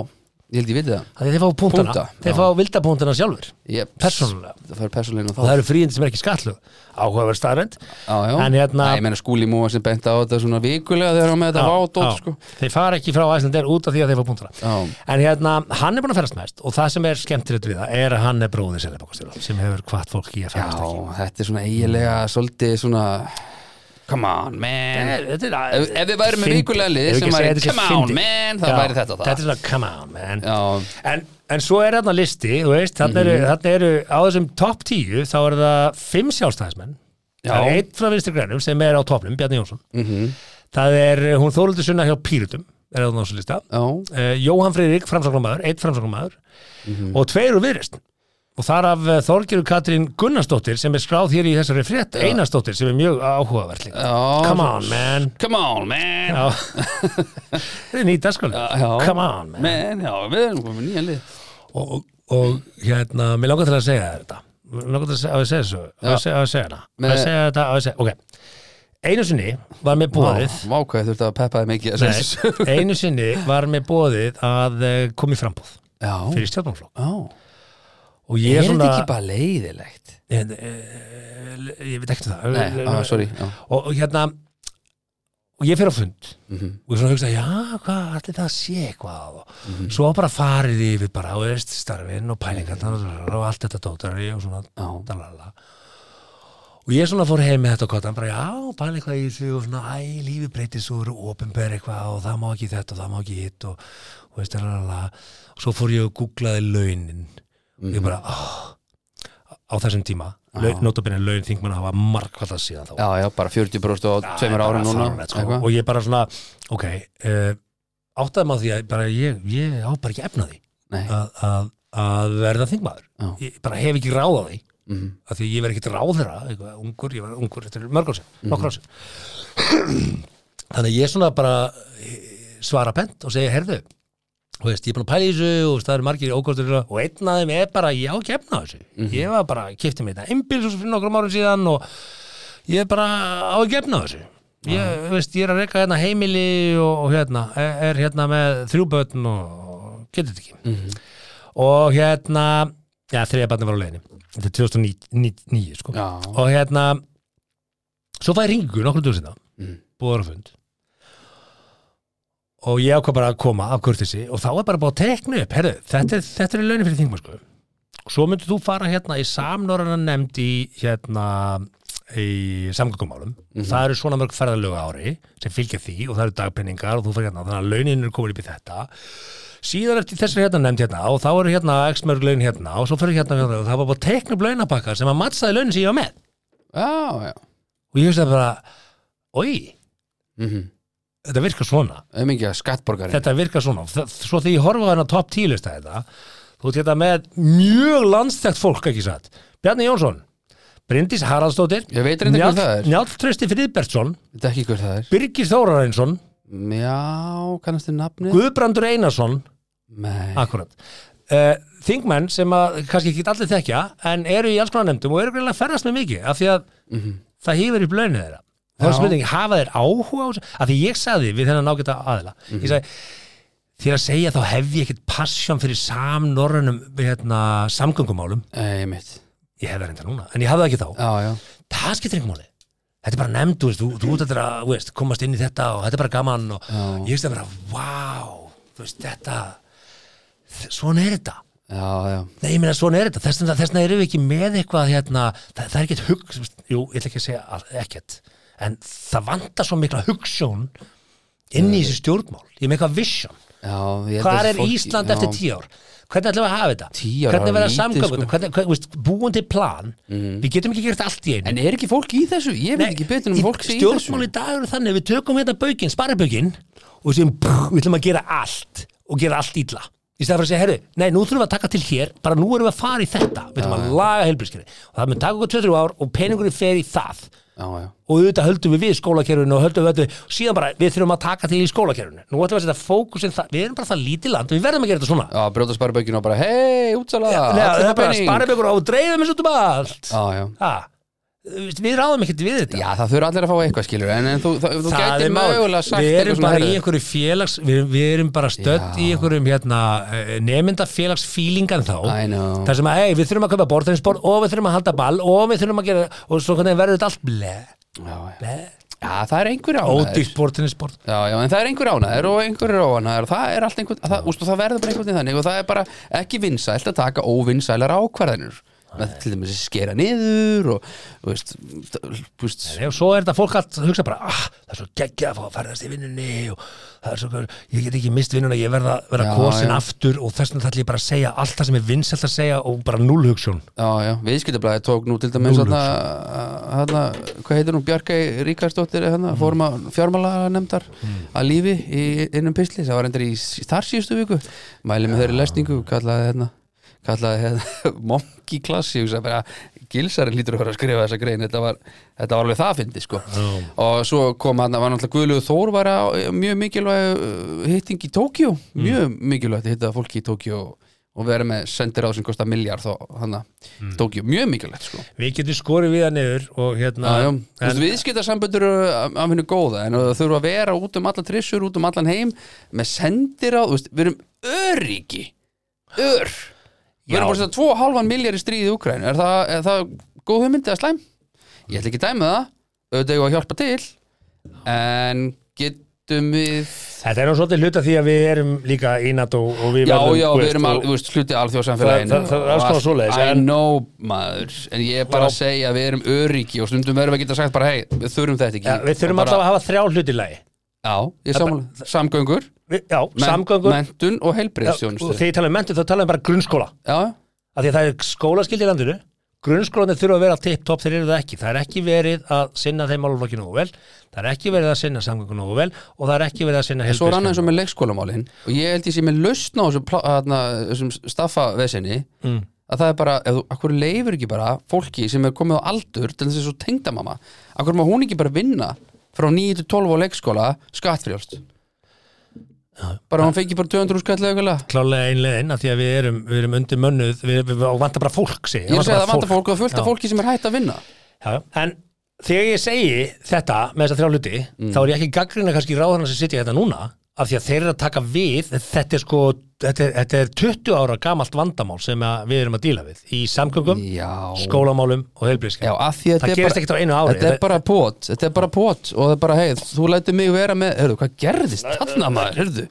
ég held ég viti það
Af því að þeir fá punktana,
Punkta, já.
þeir fá vildapunktana sjálfur
ég,
Persónulega.
Það er persónulega
og það eru fríindi sem er ekki skattlug áhugaverð staðrend
Já, já.
En hérna-
Æ, ég meina skúli múa sem bent á þetta svona vikulega þegar hann með þetta vádótt sko.
Þeir fara ekki frá Æslandir út af því að þeir fá punktana
Já.
En hérna, hann er búin að ferast mest og það sem er skemmtilegt við það er að hann er bróðir Seðabokastjóra sem hefur hvart fólk í að
Já,
ferast ekki
þetta er svona eiginlega svolítið svona Come on, man
Nei, þetta er-
Ef- ef við værum með
fyndið.
vikulega lið
Ef við
sem
ekki
væri,
segja þetta sé
"Come on,
fyndið."
man, það
Já,
væri þetta og það.
Þetta er svona come on man
Já. Mhm.
en, en svo er þarna listi, þú veist þarna eru, þarna eru á þessum topp 10 þá eru það fimm sjálfstæðismenn
Já. Mhm.
það er eitt frá vinstri grænum sem er á toppnum, Bjarni Jónsson -hmm. það er, hún Þóruldur Sunna hjá Pírutum er á þessu lista
Já,
uh, Jóhann Friðrik, framsagnumæður, eitt framsagnumæður og tveir úr viðrist og þar af Þorgeru Katrín Gunnarsdóttir sem er skráð hér í þessari frétt Einarsdóttir sem er mjög áhugaverð líka.
Já.
Come on man
come on, man
Já. Þetta er nýta sko
já.
Come on man
Man, já, við erum komið nýja lið
og, og, og hérna, mér langar til að segja þér þetta Mér langar til að segja, á ég að segja þessu Á ég að segja, á ég að segja hana Á ég að
Með-
segja þetta, á ég að segja, ok Einu sinni var mér bóðið
Vákvæði þurfti að peppa þið mikið að segja þessu sögu.
Nei, einu sinni var mér bóðið að eh, koma í frambúð
Já,
fyrir stjórnumflokk
já
og ég
Er
er
þetta
svona
ekki bara leiðilegt?
ég, ég, ég veit ekkert það
Nei, ah, á, sorry já.
og, og hérna og ég fyrir á fund og ég svona hugsa, já, hvað, allir það sé eitthvað og svo bara farið yfir bara, og veist, starfin og pælingar og allt þetta dótari og svona
Já.
dalala. og ég svona fór heim með þetta og kottan bara, já, pæla eitthvað í þessu og svona, æ, lífi breytist svo eru opinber eitthvað og það má ekki þetta og það má ekki hitt og, og veist, dalala. og svo fór ég og googlaði launin og ég bara, áh á þessum tíma, notabene laun þingmann hafa markvallað síðan þá
já, já, bara 40% á
Já,
tveimur
bara
árum núna
fáránlegt, sko.
eitthvað.
og ég bara svona, ok uh, áttaði maður því að bara, ég, ég á bara ekki efna því
Nei.
að, að, að verða þingmaður
Já.
ég bara hef ekki ráð á því
Mhm.
af því að ég verð ekki ráð þeirra eitthvað, ungur, ég var ungur, þetta er mörg ár
Mhm.
sér nokkur ár sér þannig að ég svona bara eh, svara pent og segja, herðu þú veist, ég er búin að pæla í þessu og það eru margir ókostur og einn af þeim er bara, ég á ekki efna á þessu ég var bara, kipti mig þetta einbils fyrir nokkrum árum síðan og ég er bara á ekki efna á þessu ég, þú veist, ég er að reyka hérna heimili og, og hérna, er, er hérna með þrjú börn og og getur þetta ekki og hérna já, þriða barni var á leiðinni þetta er 2009 sko
Já.
og hérna svo fæði ringu nokkur dúr sinna
Mhm.
búður á fund og ég ákvað bara að koma af kurtisi og þá er bara búið að tekna upp herðu, þetta, er- þetta er launin fyrir þingmann sko og svo myndir þú fara hérna í samnorðan nefnd í hérna í samgöngumálum það eru svona mörg ferðalöga ári sem fylgja því og það eru dagpenningar og þú fyrir hérna þannig að launin eru komin upp í þetta síðan eftir þessari hérna nefnd hérna og þá eru hérna x mörg laun hérna og svo fyrir hérna hérna og það var bara tekna upp launapakka sem að mattsaði launin sem ég var með
Já, já
og ég hugsaði bara oi,
mm
þetta virkar svona
um ekki að skattborgarinn
þetta virkar svona Þa- svo þegar ég horfa á hennar top 10 lista þetta þú ert hérna með mjög landstækt fólk ekki satt Bjarni Jónsson, Bryndís Haraldsdóttir
Ég veit reyndar hver það er.
Njáll Trösti Friðbertsson
Þetta er ekki hver það er
Birgir Þórarinsson
Já, kannast þið nafnið?
Guðbrandur Einarsson
Nei,
Akkurat. Uh, þingmenn sem að kannski ekki allir þekkja en eru í alls konar nefndum og eru greinlega að ferðast með mikið af því að það hýfur í blöinu þeirra. Það er
Mhm. Já.
spurning, hafa þeir áhuga á þessu? Af því ég sagði við þennan ágæta aðila.
Mhm.
Ég sagði, þér að segja þá hef ég ekkert passjón fyrir samnorrunum hérna, samgöngumálum.
einmitt
Ég hef það reynda núna, en ég hafði það ekki þá.
Já, já,
Það skiptir ekki máli. Þetta er bara nefnd, þú veist, þú, þú út eftir að þú veist, komast inn í þetta og þetta er bara gaman og
Já.
ég veist að bara, vá, þú veist, þetta, svona er þetta.
já, já
Nei, ég meina, svona er þetta, þess vegna- þess vegna erum við ekki með eitthvað hérna, það, það er ekkert hug jú, ég ætla ekki að segja all- ekkert en það vantar svo mikla hugssjón inn í þessi stjórnmál ég með eitthvað vision,
Já, ég held að
hvað
þessi
er
fólk-
Ísland
já,
eftir tíu ár hvernig ætlum við að hafa þetta,
Tíu ár,
hvernig
það er
verða
lítið,
samgöngur
sko. Mhm.
hvernig, hvernig, veist, búandi plan við getum ekki gert allt í einu
En er ekki fólk í þessu? Ég veit
Nei,
ekki betur um
í-
fólk sé í
stjórnmál
þessu
í dag eru þannig, við tökum hérna baukinn, sparabaukinn og sem við ætlum að gera allt og gera allt illa í stæða fyrir að segja, herru, nei, nú þurfum við að taka til hér bara nú erum við að fara í þetta við ætlum að laga helbriskeri og það mun taka okkur 2-3 ár og peningurinn fer í það
Já, já,
og auðvitað höldum við við skólakerfinu og höldum við öllu og síðan bara, við þurfum að taka til í skólakerfinu nú ætlum við að setja fókusinn það, við erum bara það lítið land við verðum að gera þetta svona
já brjóta sparbökinu og bara Hei, útsala,
Nei, það
allir
er bara
pening
sparabaukur og dreifum þessu út um allt
Já, já
ha, við ráðum ekkert við þetta
Já, það þurfa allir að fá eitthvað skilur En, en þú, það, þú gætir
málið.
mögulega sagt
Við
eitthvað
erum
svona,
bara í
heyrðu.
einhverju félags Við, við erum bara stödd
Já.
í einhverjum hérna, nefndafélagsfílingan þá
I know.
þar sem að hey, við þurfum að kaupa borðinnsbor og við þurfum að halda ball og við þurfum að gera og svo hvernig verður þetta allt ble,
Já, já.
ble,
já, það er einhver ánæður
ódýrt borðinnsbor
Já, já, en það er einhver ánæður og einhver er óánæður og það er allt einhvern, það, úst, það verður bara einhvern veginn þannig og það er bara ekki vinsælt að taka óvinsælar ákvarðanir með til dæmis að skera niður og, þú veist, það- þú veist
og svo er þetta fólk allt að hugsa bara ah, það er svo geggjað að fá að ferðast í vinnunni og það er svo, ég get ekki mist vinnuna ég verða að vera
Já,
kosin
já.
aftur og þess vegna ætlum ég bara að segja allt það sem er vinsælt að segja og bara núlhugsjón
Já, já, viðskiptablaði tók nú til dæmis hana, hana, hvað heitir nú Bjarkei Ríkarsdóttir hérna, hana, fórum að fjármála nefndar að lífi í innum pisli, það var endur í s- þar síðustu viku, mæli með þeirri lesningu kallaði hérna kallaði hérna monkey class ég hugsa bara gilsarinn lítur að vera að skrifa þessa grein þetta var, þetta var alveg það fyndi sko og svo kom hann, var náttúrulega Guðlegu Þór var á mjög mikilvæg uh, hitting í Tókjó, mjög mikilvægt að hitta fólki í Tókjó og vera með sendir á sem kostar miljard þá hann að
Mm.
Tókjó, mjög mikilvægt sko
við getum skorið við það niður og hérna
Já, já,
en-
þú veist, viðskiptarsamböndur eru af af hennu góða en það þurfa að vera út um alla trissur, út um allan heim með sendir á, þú veist, við erum öryggi ör við erum
Já.
bara að setja 2,5 miljard í stríði í Ukraín er það, er það góð hugmyndi að slæm? Ég ætla ekki að dæma það, auðvitað ég að hjálpa til en getum við
Þetta er nú svolítið hluta því að við erum líka í NATO og við
Já,
verðum
já,
þú
við
veist,
erum al,
og-
þú veist, hluti alþjóðsamfélagin
Það- það- það er alls konar svoleiðis,
I
en-
know, maður En ég er bara að segja að við erum öryggi og stundum verðum við að geta sagt bara, hei, við þurfum þetta ekki
ja, Við þurfum
bara,
alltaf að hafa þrjá hluti í lagi
Já, ég samanlega, samgöngur
Við- Já,
men-
samgöngur
Menntun og
Já,
heilbreyðstjónustu
og þegar ég tala um mentu þá tala um bara grunnskóla
Já,
af því að það er skólaskildi í landinu grunnskólanir þurfa að vera tipp-topp þeir eru það ekki það er ekki verið að sinna þeim málflokkinu og vel það er ekki verið að sinna samgöngun og vel og það er ekki verið að sinna
en svo er annað eins og
helbriðskjöld
með leikskólamálin og ég held ég sé með lausn á þessu, pla- þarna, þessum staffa vesinni mm. að það er bara, ef þú, akkur leifur ekki bara fólki sem er komið á aldur til þessi svo tengdamama, akkur má hún ekki bara vinna frá 9-12 á leikskóla skattfrjálst bara hún fengi bara 200 skattlega ykkurlega
klálega einlegin af því að við erum, við erum undir mönnuð við, við, og vantar bara fólk sig,
Ég er að segja að það vantar fólk og það er fullt af
Já.
fólki sem er hætt að vinna
Já, já. en þegar ég segi þetta með þessa þrjá hluti,
Mm.
þá er ég ekki gaggrina kannski ráðana sem sitja hérna núna af því að þeir eru að taka við þetta er sko, þetta er, þetta er 20 ára gamalt vandamál sem að við erum að díla við í samgöngum,
Já.
skólamálum og
Já,
heilbriðskap.
að því að
Það
þetta er
gerist
bara-
ekkert á einu ári.
Þetta er bara pot, þetta er bara pot og það er bara, hei, þú lætur mig vera með Hörðu, hvað gerðist? Þarna maður, hörðu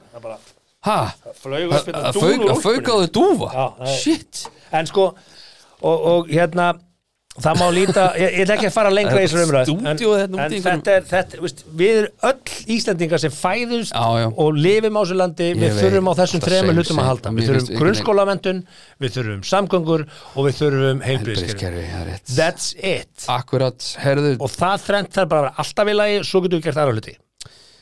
Hæ?
flaug upp hérna dúna úr
Að faukaðu
Já,
dúfa?
það er-
Shit
En sko, og, og hérna það má líta, ég, ég ætla ekki að fara lengra í þessu umræð, en,
Stúdíóið hérna úti
en
í einhverjum-
þetta er, þetta, veist, við erum öll Íslendingar sem fæðust
Já, já.
og lifum á þessu landi,
Ég
við þurfum á
veit,
þessum
alltaf
þremur
same,
hlutum að
same.
halda,
Mér
við
finnst
þurfum
einhvern veginn-
grunnskólamendun við þurfum samgöngur og við þurfum heilbriðskerfi,
Helbriðskerfi, það er rétt
that's it
Akkurat, herðu
og það þrennt þarf bara að vera alltaf í lagi svo getum við gert aðra hluti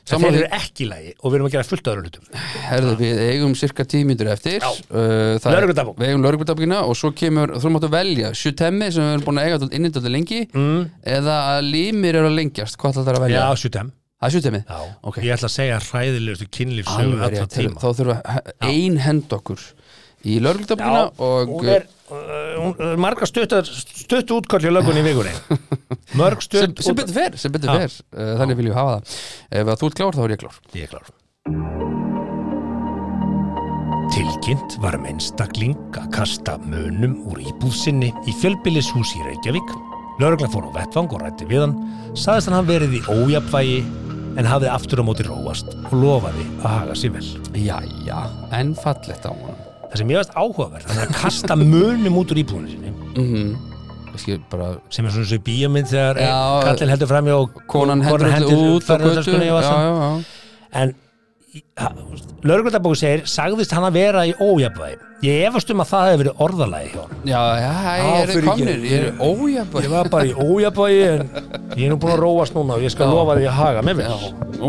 en
Sammála
þeir
því.
eru ekki í lagi og við erum að gera fullt aðra hlutum
Herðu, við eigum cirka tímyndur eftir
Já.
uh, það er-
Lögregludagbók.
Við eigum lögregludagbókina og svo kemur, þú máttu velja Sjutemmi sem við erum búin að eiga innindöldu lengi mm. eða að límir eru að lengjast, hvað ætlar það að velja?
já, 7M
Það er sjúttemið
Já,
Ok.
Ég ætla að segja hræðilegustu kynlífsögu
Alveg
allra
rétt til
tíma
Þá þurfa ein hend okkur í
Já,
lörglutabuna og
hún er uh, hún, uh, margar stuttar, stutt útköll í lögunni í vikunni Mörg
sem,
stutt
sem
út-
betur fer, sem betur fer uh, Þannig viljum við hafa það Ef að þú ert klár þá er ég klár
Ég er klár Tilkynnt var um einstakling að kasta munum úr íbúðsinni í fjölbýlishús í Reykjavík. Lörgla fór á vettvang og rætti við hann, saðist hann hafa verið í ójapvægi en hafði aftur á móti róast og lofaði að haga sér vel.
Jæja, en fallegt á honum
Það sem ég veist áhugaverð, hann er að kasta munum út úr íbúðinni sinni,
Kannski bara
sem er svona svo bíjamind þegar
Já,
einn kallinn heldur fram hjá og
konan hendur öllu út á götu
ferðartöskunni
Já,
og allt saman.
já, já
en lögreglundabóku segir sagðist hann að vera í ójafnvægi ég efast um að það hefði verið orðalagi hjá hann
Já, já,
Já,
ég er
fyrirgefðu.
komnir, ég er ójabæð
Ég var bara í ójafnvægi en ég er nú búin að róast núna og ég skal
Já.
lofa því að haga mér vel
Já,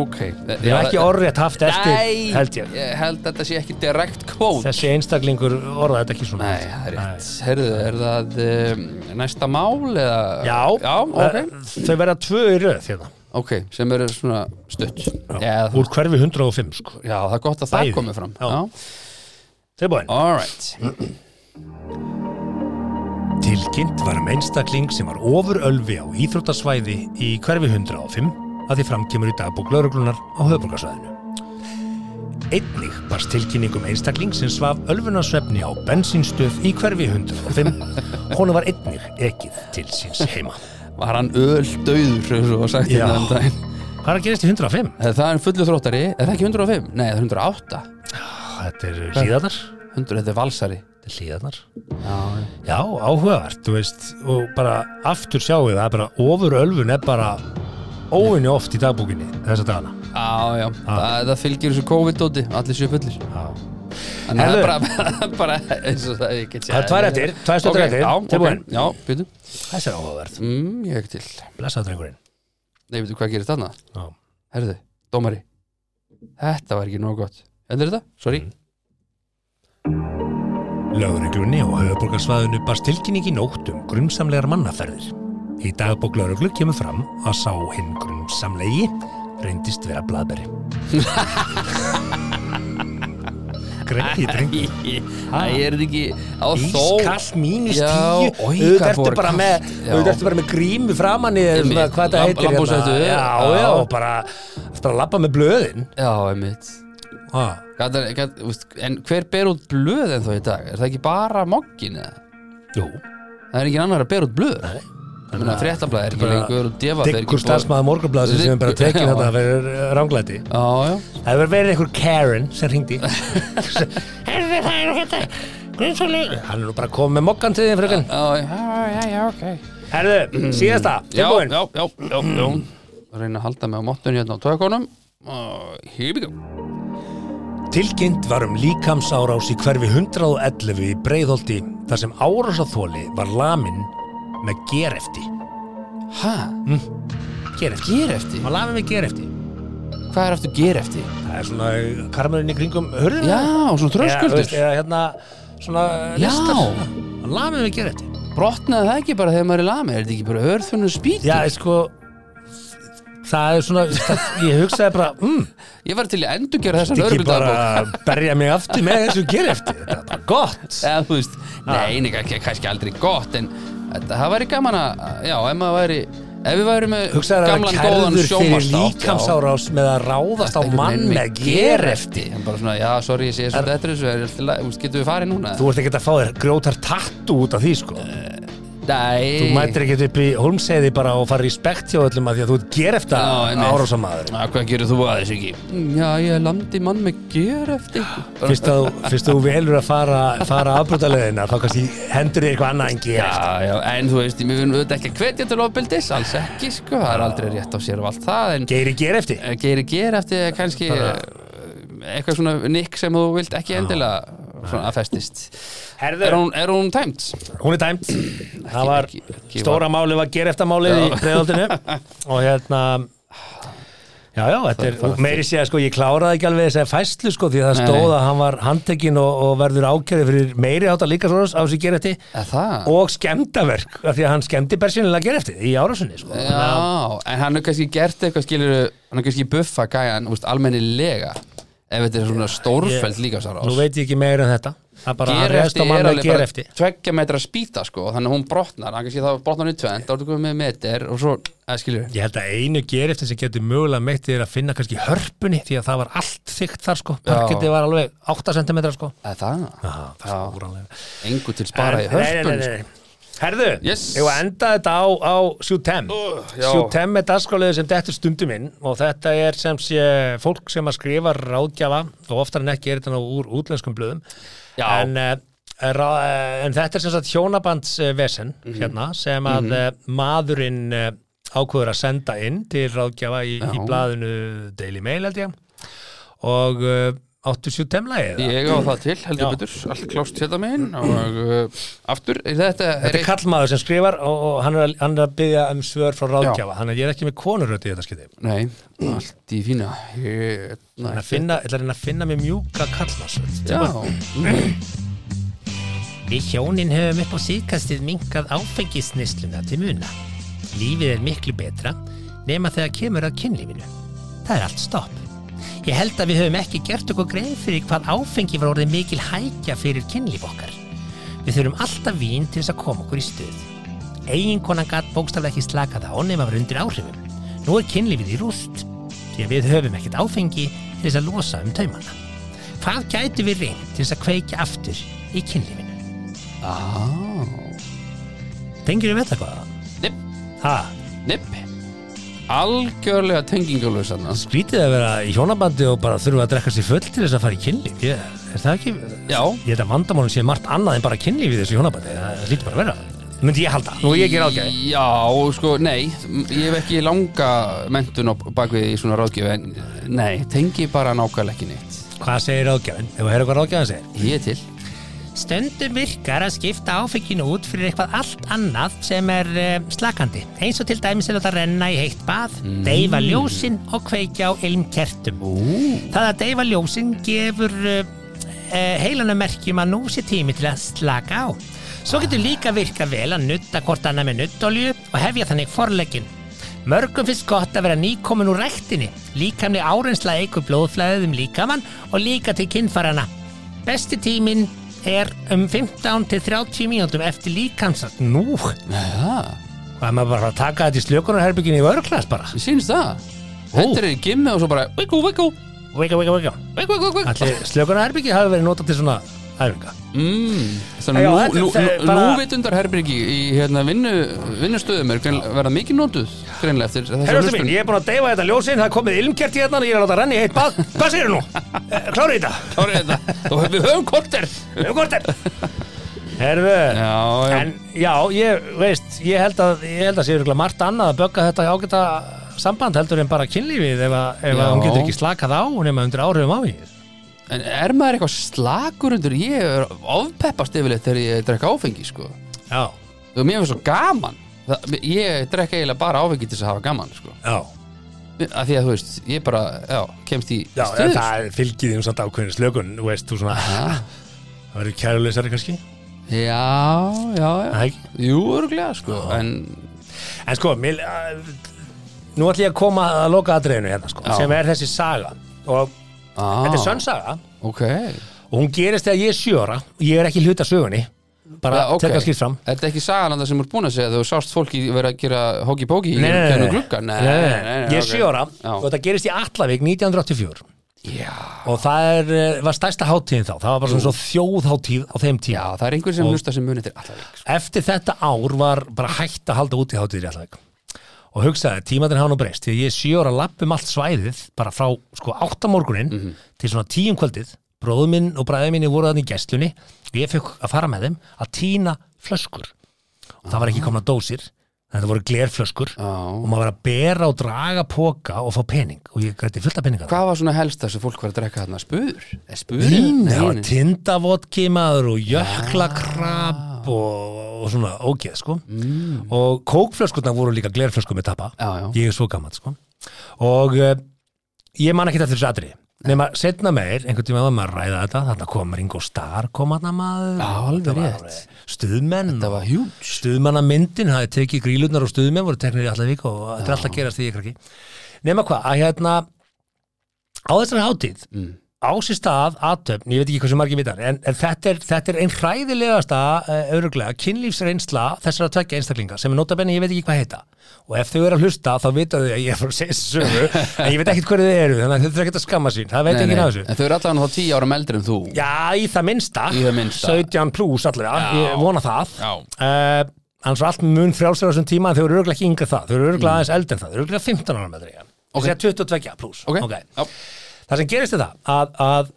ok
Ég hef ekki orðrétt haft eftir,
Nei,
held ég
ég held að þetta sé ekki direkt kvót
Þessi einstaklingur orðaði þetta ekki svona
Nei, það er rétt Herðu, er það um, næsta mál eða
Já,
Já, ok
eh, þau verða tvö í röð hérna,
Ok, sem eru svona stutt Já,
úr hverfi 105 sko
já það er gott að það
Bæði.
komi fram
Já.
Já,
tilbúin
alright
Tilkynnt var um einstakling sem var ofur ölvi á íþróttasvæði í hverfi 105 að því framkemur í dagbók lauruglunar á höfbrukarsvæðinu. Einnig barst tilkynning um einstakling sem svaf ölfunarsvefni á bensínstöð í hverfi 105. Hún var einnig ekið til síns heima.
Var hann öldauður, eins og var sagt
Já.
hérna um daginn Eh,
Hvað er að gerast í 105?
Það er fullu þróttari, er það ekki 105? Nei, það er 108
Þetta er hlýðarnar.
100, þetta er valsari
Þetta er hlýðarnar.
Já,
Já, áhugavert, þú veist, og bara aftur sjáu það, bara ofur ölfun er bara óinni oft í dagbókinni þessa dagana.
já, já. Það, það fylgir þessu COVID-dóti, allir séu fullir
Já.
Þannig að það
Herðu.
er bara, bara eins og það ég get
Það er tvær eftir, tvær stuttur eftir,
Já,
tilbúin.
ok, já, býtu
Þessi er áhugaverð.
mm, Ég er ekki til
Blessað drengurinn.
Nei, veitu hvað gerir þarna?
Já.
Herðu, dómari Þetta var ekki nóg gott Endur þetta? Sorry
Mm.
Lögreglunni og höfuborgarsvæðinu barst tilkynning í nótt um grunsamlegar mannaferðir. Í dagbók lögreglu kemur fram að sá hinn grunsamlegi reyndist vera blaðberi. Greið, drengur.
Það er þetta ekki á þó
Ískall mínus
Já,
tíu
oj,
Auðvitað
hvað
ertu
voru
bara
kalt,
með
já.
Auðvitað ertu bara með grímu framan í þér
Einmitt,
svona, Hvað þetta
lamb-
heitir
lambhúshættu,
hérna. Já,
já.
já, og bara ertu bara að labba með blöðin Ah,
Já, einmitt
Ha,
Gat, gat, veist, En hver ber út blöð en þá í dag? Er það ekki bara mokkin eða?
jú,
Það er ekki annar að ber út blöð Ég meina, fréttablaðið er ekki
Bara
lengur og defa
Diggur starfsmaður morgunblæðsins sem er bara
Diggur-
tekin
já.
þetta fyrir ránglæti
Já, já
Það hefur verið einhver Karen sem ringdi Herði það er þetta Grunnsóli Hann er nú bara komið með mokkan til þín frökun
Já, já, já, já, ok
Herðu, síðasta,
Já,
tilbúin
já, já, já, já Reyna að halda mig á mottunni hérna á tökunum og here we go
Tilkynnt var um líkamsárás í hverfi 111 í Breiðholti þar sem árásathóli var lamin með gerefti.
Hæ?
Hm.
Gerefti?
Gerefti?
Hann var lamin með gerefti.
Hvað er aftur gerefti?
Það er svona karmurinn í kringum Hörðu
Já, svona
Eða,
tröskuldur
eða hérna svona
Já.
listar Hann Lamið við gera þetta
Brotnaði það ekki bara þegar maður er lamið Er þetta ekki bara örþunum spýti?
Já, ég sko Það er svona, það, ég hugsaði bara mm,
Ég var til í að endurgera þessa
Ekki bara
lögregludagabók
berja mig aftur með þessu gera eftir Þetta er bara gott
Eða, þú veist, nei, nei, kannski- kannski aldrei gott en þetta, það væri gaman að já, ef maður væri ef við væri með
Hugsaði að
gamlan
vera
góðan
kærður fyrir
sjómastátt
líkamsárás með að ráðast á mann með gera eftir
en bara svona, já, sorry, ég sé svona þetta þessu, er allt í lagi, þú veist, getum við farið núna
Þú ert ekki að fá þér grjótar tattu út af því sko
Nei
Þú mætir ekki upp í holmseði bara og farið í spekt hjá öllum að því að þú ert gera
Já,
eftir
einmitt.
árásamaður
Að, Hvað gerir þú aðeins ekki? Já, ég landi mann með gjör eftir
Fyrst að þú- fyrst að þú velur að fara, fara afbrotaleðina þá kannski hendur þér eitthvað annað en gera
Já, já, en þú veist, mér finnum auðvitað ekki að hvetja til ofbildis, alls ekki, sko, það er aldrei rétt á sér og allt það, en
Geiri ger eftir
eh, gerir gjör eftir er kannski eh, eitthvað svona nikk sem þú vilt ekki endilega svona að festist.
Herður,
Er hún, er hún tæmt?
hún er dæmt Það var
ekki- ekki
stóra málið var ger eftir málið í breyðaldinu og hérna Já, já, þetta er, og meiri sé að sko, ég kláraði ekki alveg þess að fæslu sko, því að það
Nei,
stóð
nei.
að hann var handtekinn og, og verður ákjörði fyrir meiri átta líka svona á þessu gerefti
Er það?
og skemmtaverk, af því að hann skemmti persónulega gerefti í árásunni, sko.
Eh, Já, en hann er kannski gert eitthvað skilur hann er kannski buffa gæjan, úst, almennilega ef þetta er svona stórfæld líka sára
Nú veit ég ekki meira en þetta. Það bara hann rest á
Gerefti er
manna
alveg bara
gerefti.
tveggja metra spýta sko þannig að hún brotnar, hann kannski þá brotnar hann í tvend þá ertu komið með meter og svo, eða skilur
Ég held að einu gereftin sem getur mögulega meitt er að finna kannski hörpunni, því að það var allt þykkt þar, sko. Parketti var alveg 8 cm, sko.
eða það,
Aha, það er úrannlega.
engu til spara í
En-
hörpun
nei, nei,
sko.
nei, nei. Herðu,
Yes.
ég var enda þetta á, á Sjútem
já.
Sjútem er dagskráliður sem dettur stundum inn og þetta er sem sé fólk sem að skrifa ráðgjafa og oftar en ekki er þetta nú úr útlenskum blöðum
Já.
en, eh, rá, eh, en þetta er sem sagt hjónabandsvesen
Mhm.
hérna, sem að mm maðurinn eh, ákveður að senda inn til ráðgjafa í, í blaðinu Daily Mail held ég og eh, áttu Sjútem-lagið eða?
ég á það til, heldur
Já.
betur allt klást hérna megin og uh, aftur, er þetta
Þetta er
eitt-
kallmaður sem skrifar og, og hann, er að, hann er að byggja um svör frá ráðgjafa þannig að ég er ekki með konuröti í þetta skiti
nei, allt í fína ég, na,
Þannig að finna, ég ætla að reyna að finna mér mjúka kallmarsvöld
já,
Við hjónin höfum upp á síðkastið minkað áfengisnisluna til muna Lífið er miklu betra nema þegar kemur að kynlífinu Það er allt stopp Ég held að við höfum ekki gert okkur grein fyrir hvað áfengi var orðið mikil hækja fyrir kynlíf okkar Við þurfum alltaf vín til þess að koma okkur í stuð Eiginkonan gatt bókstaflega ekki slakað á nema var undir áhrifum. Nú er kynlífið í rúst, því að við höfum ekkert áfengi til þess að losa um taumana. Hvað gætu við reynd til þess að kveikja aftur í kynlífinu? Ah. Tengir við þetta hvað?
nipp,
Ha,
nipp algjörlega tengingalöð sannan
skrítið að vera í hjónabandi og bara þurfa að drekka sér full til þess að fara í kynlíf. Ég, er það ekki...
já,
Ég held að vandamálum sé margt annað en bara kynlíf í þessu hjónabandi. Það lítur bara að vera. Myndi ég halda. Nú er ég ekki ráðgjafi.
Já, sko, nei, ég hef ekki langa mentun á bakvið í svona ráðgjöf en nei, tengi bara nákvæmlega ekki neitt
Hvað segir ráðgjafinn? Ef við heyrðum hvað ráðgjafinn segir.
Ég er til
Stundum virkar að skipta áfenginu út fyrir eitthvað allt annað sem er uh, slakandi. Eins og til dæmis er þetta renna í heitt bað, deyfa ljósin og kveikja á ilmkertum. Það að deyfa ljósin gefur uh, uh, heilana merkjum að nú sé tími til að slaka á. Svo getur líka virka vel að nutta hvort annað með nuttolju og hefja þannig forlegin. Mörgum finnst gott að vera nýkomin úr rektinni. Líkamni árensla eikur blóðflæðið um líkamann og líka til kinnfarana. Besti tíminn er um 15 til 30 mínútum eftir líkamsast. Nú,
Já,
hvað er maður bara að taka þetta í slökunarherbygginni í vörglas bara?
mér sýnst það Hendur er í gimmi og svo bara Vikku, vikku,
Vika, vika, vika.
vikku, vikku, vikku
Allir slökunarherbyggi hafi verið notað til svona æfinga.
mm,
Já,
Þannig að
þetta-
nú, nú,
þetta er
nú,
bara-
nú vitundar herbyrgi í hérna, vinnu, vinnustöðum er grein, verða mikið notuð greinlega eftir þessa
Herrastu mín,
hlustun
ég er búin að deyfa þetta ljósin, það er komið ilmkert í hérna og ég er að láta renni í heitt bað. Hvað segir nú? Eh, Klárið þetta?
Klárið þetta. Þú hefur við höfum korter
Um korter? Herðu,
Já, já
En já, ég veist, ég held að, ég held að sé ykkurlega margt annað að bögga þetta ágæta samband heldur en bara kynlífið ef, að, ef
Já.
að hún getur ekki slakað á nema undir áhrifum á því.
En er maður eitthvað slagur undir Ég er ofpeppast yfirleitt þegar ég drekka áfengi sko.
Já,
og mér finnst svo gaman það, ég drekka eiginlega bara áfengi til þess að hafa gaman sko.
já.
af því að þú veist, ég bara já, kemst í
Já, en
stuð
það er- fylgir því um samt ákveðin slökun, þú veist, þú svona, það verður kæruleysari kannski.
já, já, já.
Æ.
jú, örglega sko. en
En sko, mér, að, nú ætlum ég að koma að loka aðdreifinu hérna, sko,
Já.
sem er þessi saga. Og
á,
þetta er sönnsaga
Ah, ok,
og hún gerist þegar ég er sjö ára og ég er ekki hluta sögunni, bara
Já, ok.
tekka skýrt fram.
þetta er ekki sagalanda sem er búin að segja þú sást fólki vera að gera hóki-póki í kænu glugga nei, nei, nei,
Ég er
ok.
sjö ára
Já.
og þetta gerist í Allavík 1984
já,
og það er, eh, var stærsta hátíðin þá það var bara svona svo þjóðhátíð á þeim
já,
tíma
það er einhver sem hlusta sem munið til sko. allaveg
Eftir þetta ár var bara hægt að halda út í hátíðir í Allavík og hugsaði, tímatin hafa nú breyst því að ég er sjö ára lappum allt svæðið bara frá sko áttamorgunin mm til svona tíum kvöldið, bróðu minn og bræði minni voru þannig í gestlunni og ég fekk að fara með þeim að tína flöskur og það var ekki komna dósir þetta voru glerflöskur og
já
maður var að bera og draga póka og fá pening og ég grætti fullt af peninga
Hvað var svona helst það sem fólk var að drekka þarna? Spur? Er spur?
Vín, það var tindavodki maður og jöklakrab og, og svona ógeð sko og kókflöskurnar voru líka glerflöskur með tappa
Mm. Já, já.
ég er svo gammal sko og uh, ég man ekki eftir þessu atri nema setna meir, einhvern tíma var maður að ræða þetta þarna kom Ringo Starr, kom hann maður
Já, alveg
Þetta var
rétt.
alveg stuðmenn
Þetta var huge.
stuðmannamyndin, hafi tekið grílurnar og stuðmenn voru teknir í allaveg og þetta er alltaf að gerast því ég krakki nema hvað, að hérna á þessari hátíð mm. á sér stað aðtöfn, ég veit ekki hversu margir vitar en, en þetta, er, þetta er ein hræðilegasta uh, öruglega, kynlífsreynsla þessara tvekja einstaklinga sem er notabenni, ég veit ekki hvað heita og ef þau eru að hlusta þá vita þau að ég er frá sessu en ég veit ekkert hverju þau eru þannig að þau eru ekkert að skamma sín, það veit
Nei,
ekki
nei.
náðu
En þau eru allan þá tíu árum eldri en þú
Já, í það minnsta,
Í það minnsta.
17 pluss allavega,
Já.
ég vona það
Já.
uh, Annars var allt mun frjálsir á þessum tíma en þau eru örgulega ekki yngri en það, þau eru örgulega aðeins eldi en það, þau eru örgulega 15 ára með þeirra
Mm. Ok.
okay. 22 pluss
Ok,
Ok.
Já.
Það sem gerist er það að, að,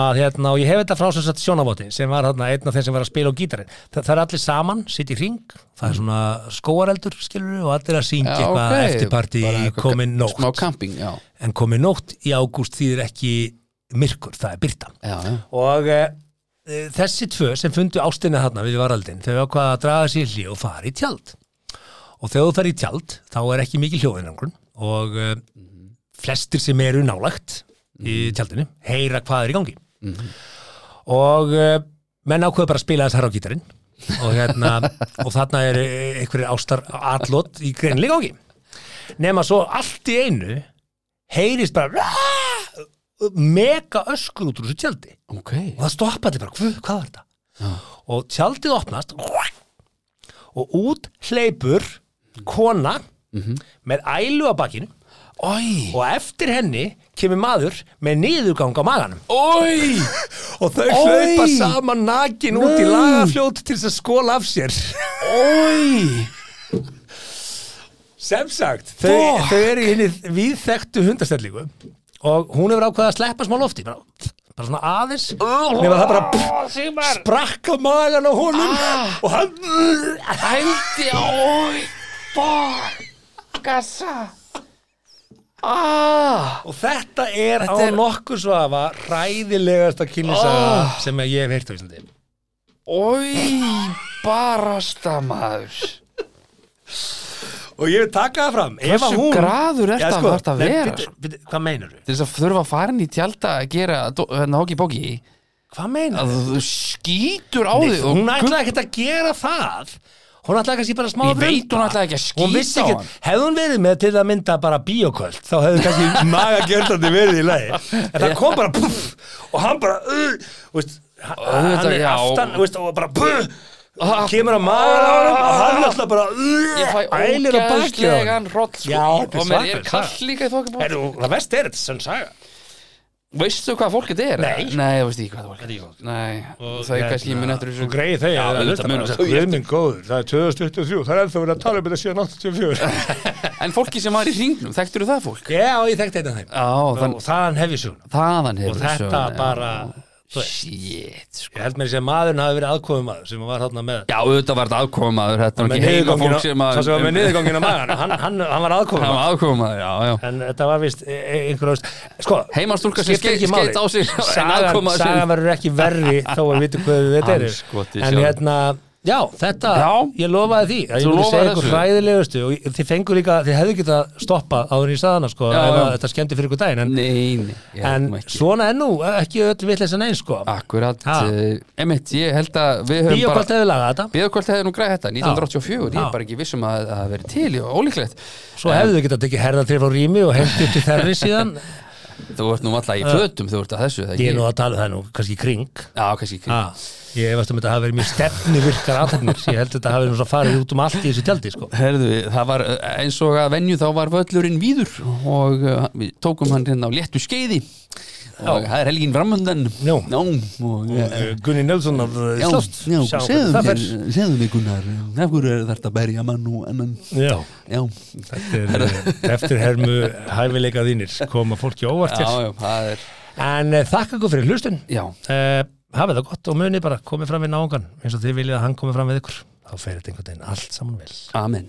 að hérna, og ég hef þetta frá sem sagt sjónavóti sem var hérna, einn af þeim sem var að spila á gítarinn Þa, það er allir saman, sitt í hring það er svona skóareldur skilur og allir að syngja
Mm. Já,
eitthvað
ok.
eftir partí
Bara eitthvað
komin nótt
Smá camping, já,
en komin nótt í ágúst þýðir ekki myrkur, það er byrtan
já, já.
og e, e, þessi tvö sem fundu ástinni þarna við varaldin þau ákvaða að draga sér hlý og fara í tjald og þegar þú fer í tjald þá er ekki mikil hljóðinangrun og e, flestir sem eru nálagt í tjaldinu heyra hvað er í gangi og e, menn ákveða bara að spila þess herra á gítarinn og, hérna, og þarna er eh, einhverjir ástar atlot í greinlega gangi nema svo allt í einu heyrist bara mega öskur út úr þessu tjaldi
Ok,
og það stoppa allir bara, hvað, hvað var þetta? og tjaldið opnast og út hleypur kona með ælu á bakkinu
oi
og eftir henni kemur maður með niðurgang á maganum
Oi,
og þau
Oj!
hlaupa saman nakin út í
Nei!
lagafljót til þess að skóla af sér
oi
sem sagt, þau,
Fuck!
þau eru í henni viðþektu hundastellingu og hún hefur ákveðið að sleppa smá lofti bara, bara svona aðeins nema það bara pff, sprakk á magan á honum og hann
Hældi, oi
Og þetta er
Þetta
á
er-
nokkur svafa ræðilegasta kynlisaga sem ég hef heyrt á Íslandi.
Oi, barasta maður
Og ég vil taka það fram. ef að
Hversu
hún-
graður er
Já,
þetta
sko,
að
nei,
vera? Nei,
bíddu, bíddu, Hvað meinar þú?
Til þess að þurfa að fara inn í tjálta að gera dó- hérna hóki bóki
Hvað meinar
að
þú?
þú skýtur á þig og
Hún ætlaði ekkert að gera það. Hún ætlaði kannski bara smá
Ég
að
veit
brunda.
hún ætlaði ekki að
Hún
skýta
vissi
á
ekki,
hann.
hefði hún verið með til að mynda bara bíoköld, þá hefði kannski magagjörðandi verið í lagi. En það kom bara puff og hann bara, uh, veist, hann hann
Auðvitað,
er
já.
aftan, veist, og bara puff, kemur að maður á hann og hann alltaf bara, uh,
Ég fæ
ælir á bakið á honum.
ógæðslegan hroll sko.
Já, þetta er
og mér er
svakalegt,
kall líka í þokkabók
Heru, það verst er þetta sem saga
Veistu hvað fólkið er?
Nei.
Nei, ég veist ekki hvað fólkið er Nei, það
hérna-
er kannski mun eftir þessu
greið þeir
Já, auðvitað muna þau
Guð minn góður, það er 2023 það er ennþá verið að tala um þetta síðan 84
En fólki sem var í hringnum, þekktur það fólk?
Já, ég þekkti þetta þeim
Já, þann,
og þaðan hef ég söguna
þaðan hefur
og þetta bara, þú veist
Shit, sko
ég held mér að segja að maðurinn hafi verið aðkofum maður sem var þarna með
Já, auðvitað var þetta aðkomaður, þetta var
með
ekki heima
niðurganginn á-
fólk sem að
sá sem var með niðurgangin á magan hann, hann, hann var aðkofum
Það var aðkomaður, já, já
en þetta var e- vist einhverjum sko,
Heimastúlka sem
skiptir
skei-
ekki máli.
skeyt á sig, en
sagan,
aðkomaður sinn.
sagan verður ekki verri þó að við vitum hvað þetta
Hann
eru
skoti
en
sjálf.
hérna já, þetta,
Já.
ég lofaði því að
Þú
ég myndi
lofaðir
segja ykkur
þessu.
hræðilegustu og ég- þið fengur líka, þið hefðu getað stoppað áður í saðana sko,
Já,
ef að
já.
þetta skemmti fyrir ykkur daginn en,
Nei, nei, ég held
en
nú ekki
svona ennú, ekki öll vitleysan eins sko,
Akkurat,
Ha.
eh, einmitt, ég held að við höfum bara
bíokvart hefur lagað þetta
Bíðakvöld hefði nú græði þetta, 1984, ég
Já.
er bara ekki vissum að það verið til, ég var ólíklegt
svo hefðu þið getað tekið herðatrif á rými og hengt upp til þerri síðan
Þú ert nú alltaf í fötum þú ert að þessu, það
ég er nú að tala um það nú, kannski í kring
Já, kannski ekki
Ah, ég hefast um þetta hafi verið mjög stefni virkar aðhafnir, ég held að þetta hafi nú svo farið út um allt í þessu tjaldi sko.
Herðu, það var eh, eins og að venju þá var völlurinn víður og eh, við tókum hann hérna á léttu skeiði og það er helgin framöndan
Nú.
og eh,
Gunni Nelsson af eh,
Já,
Slást
já, segðu
það
mér,
fer
segðu mér Gunnar, af hverju er þetta að berja mann og annan,
Já,
já,
þetta er eh, eftirhermu hæfileika þínir koma fólki á óvart
já,
til
já, það er,
En eh, þakka ykkur fyrir hlustun
já,
uh, Hafið það gott og munið bara komið fram við náungan eins og þið viljið að hann komið fram við ykkur þá fer þetta einhvern veginn allt saman vel
amen.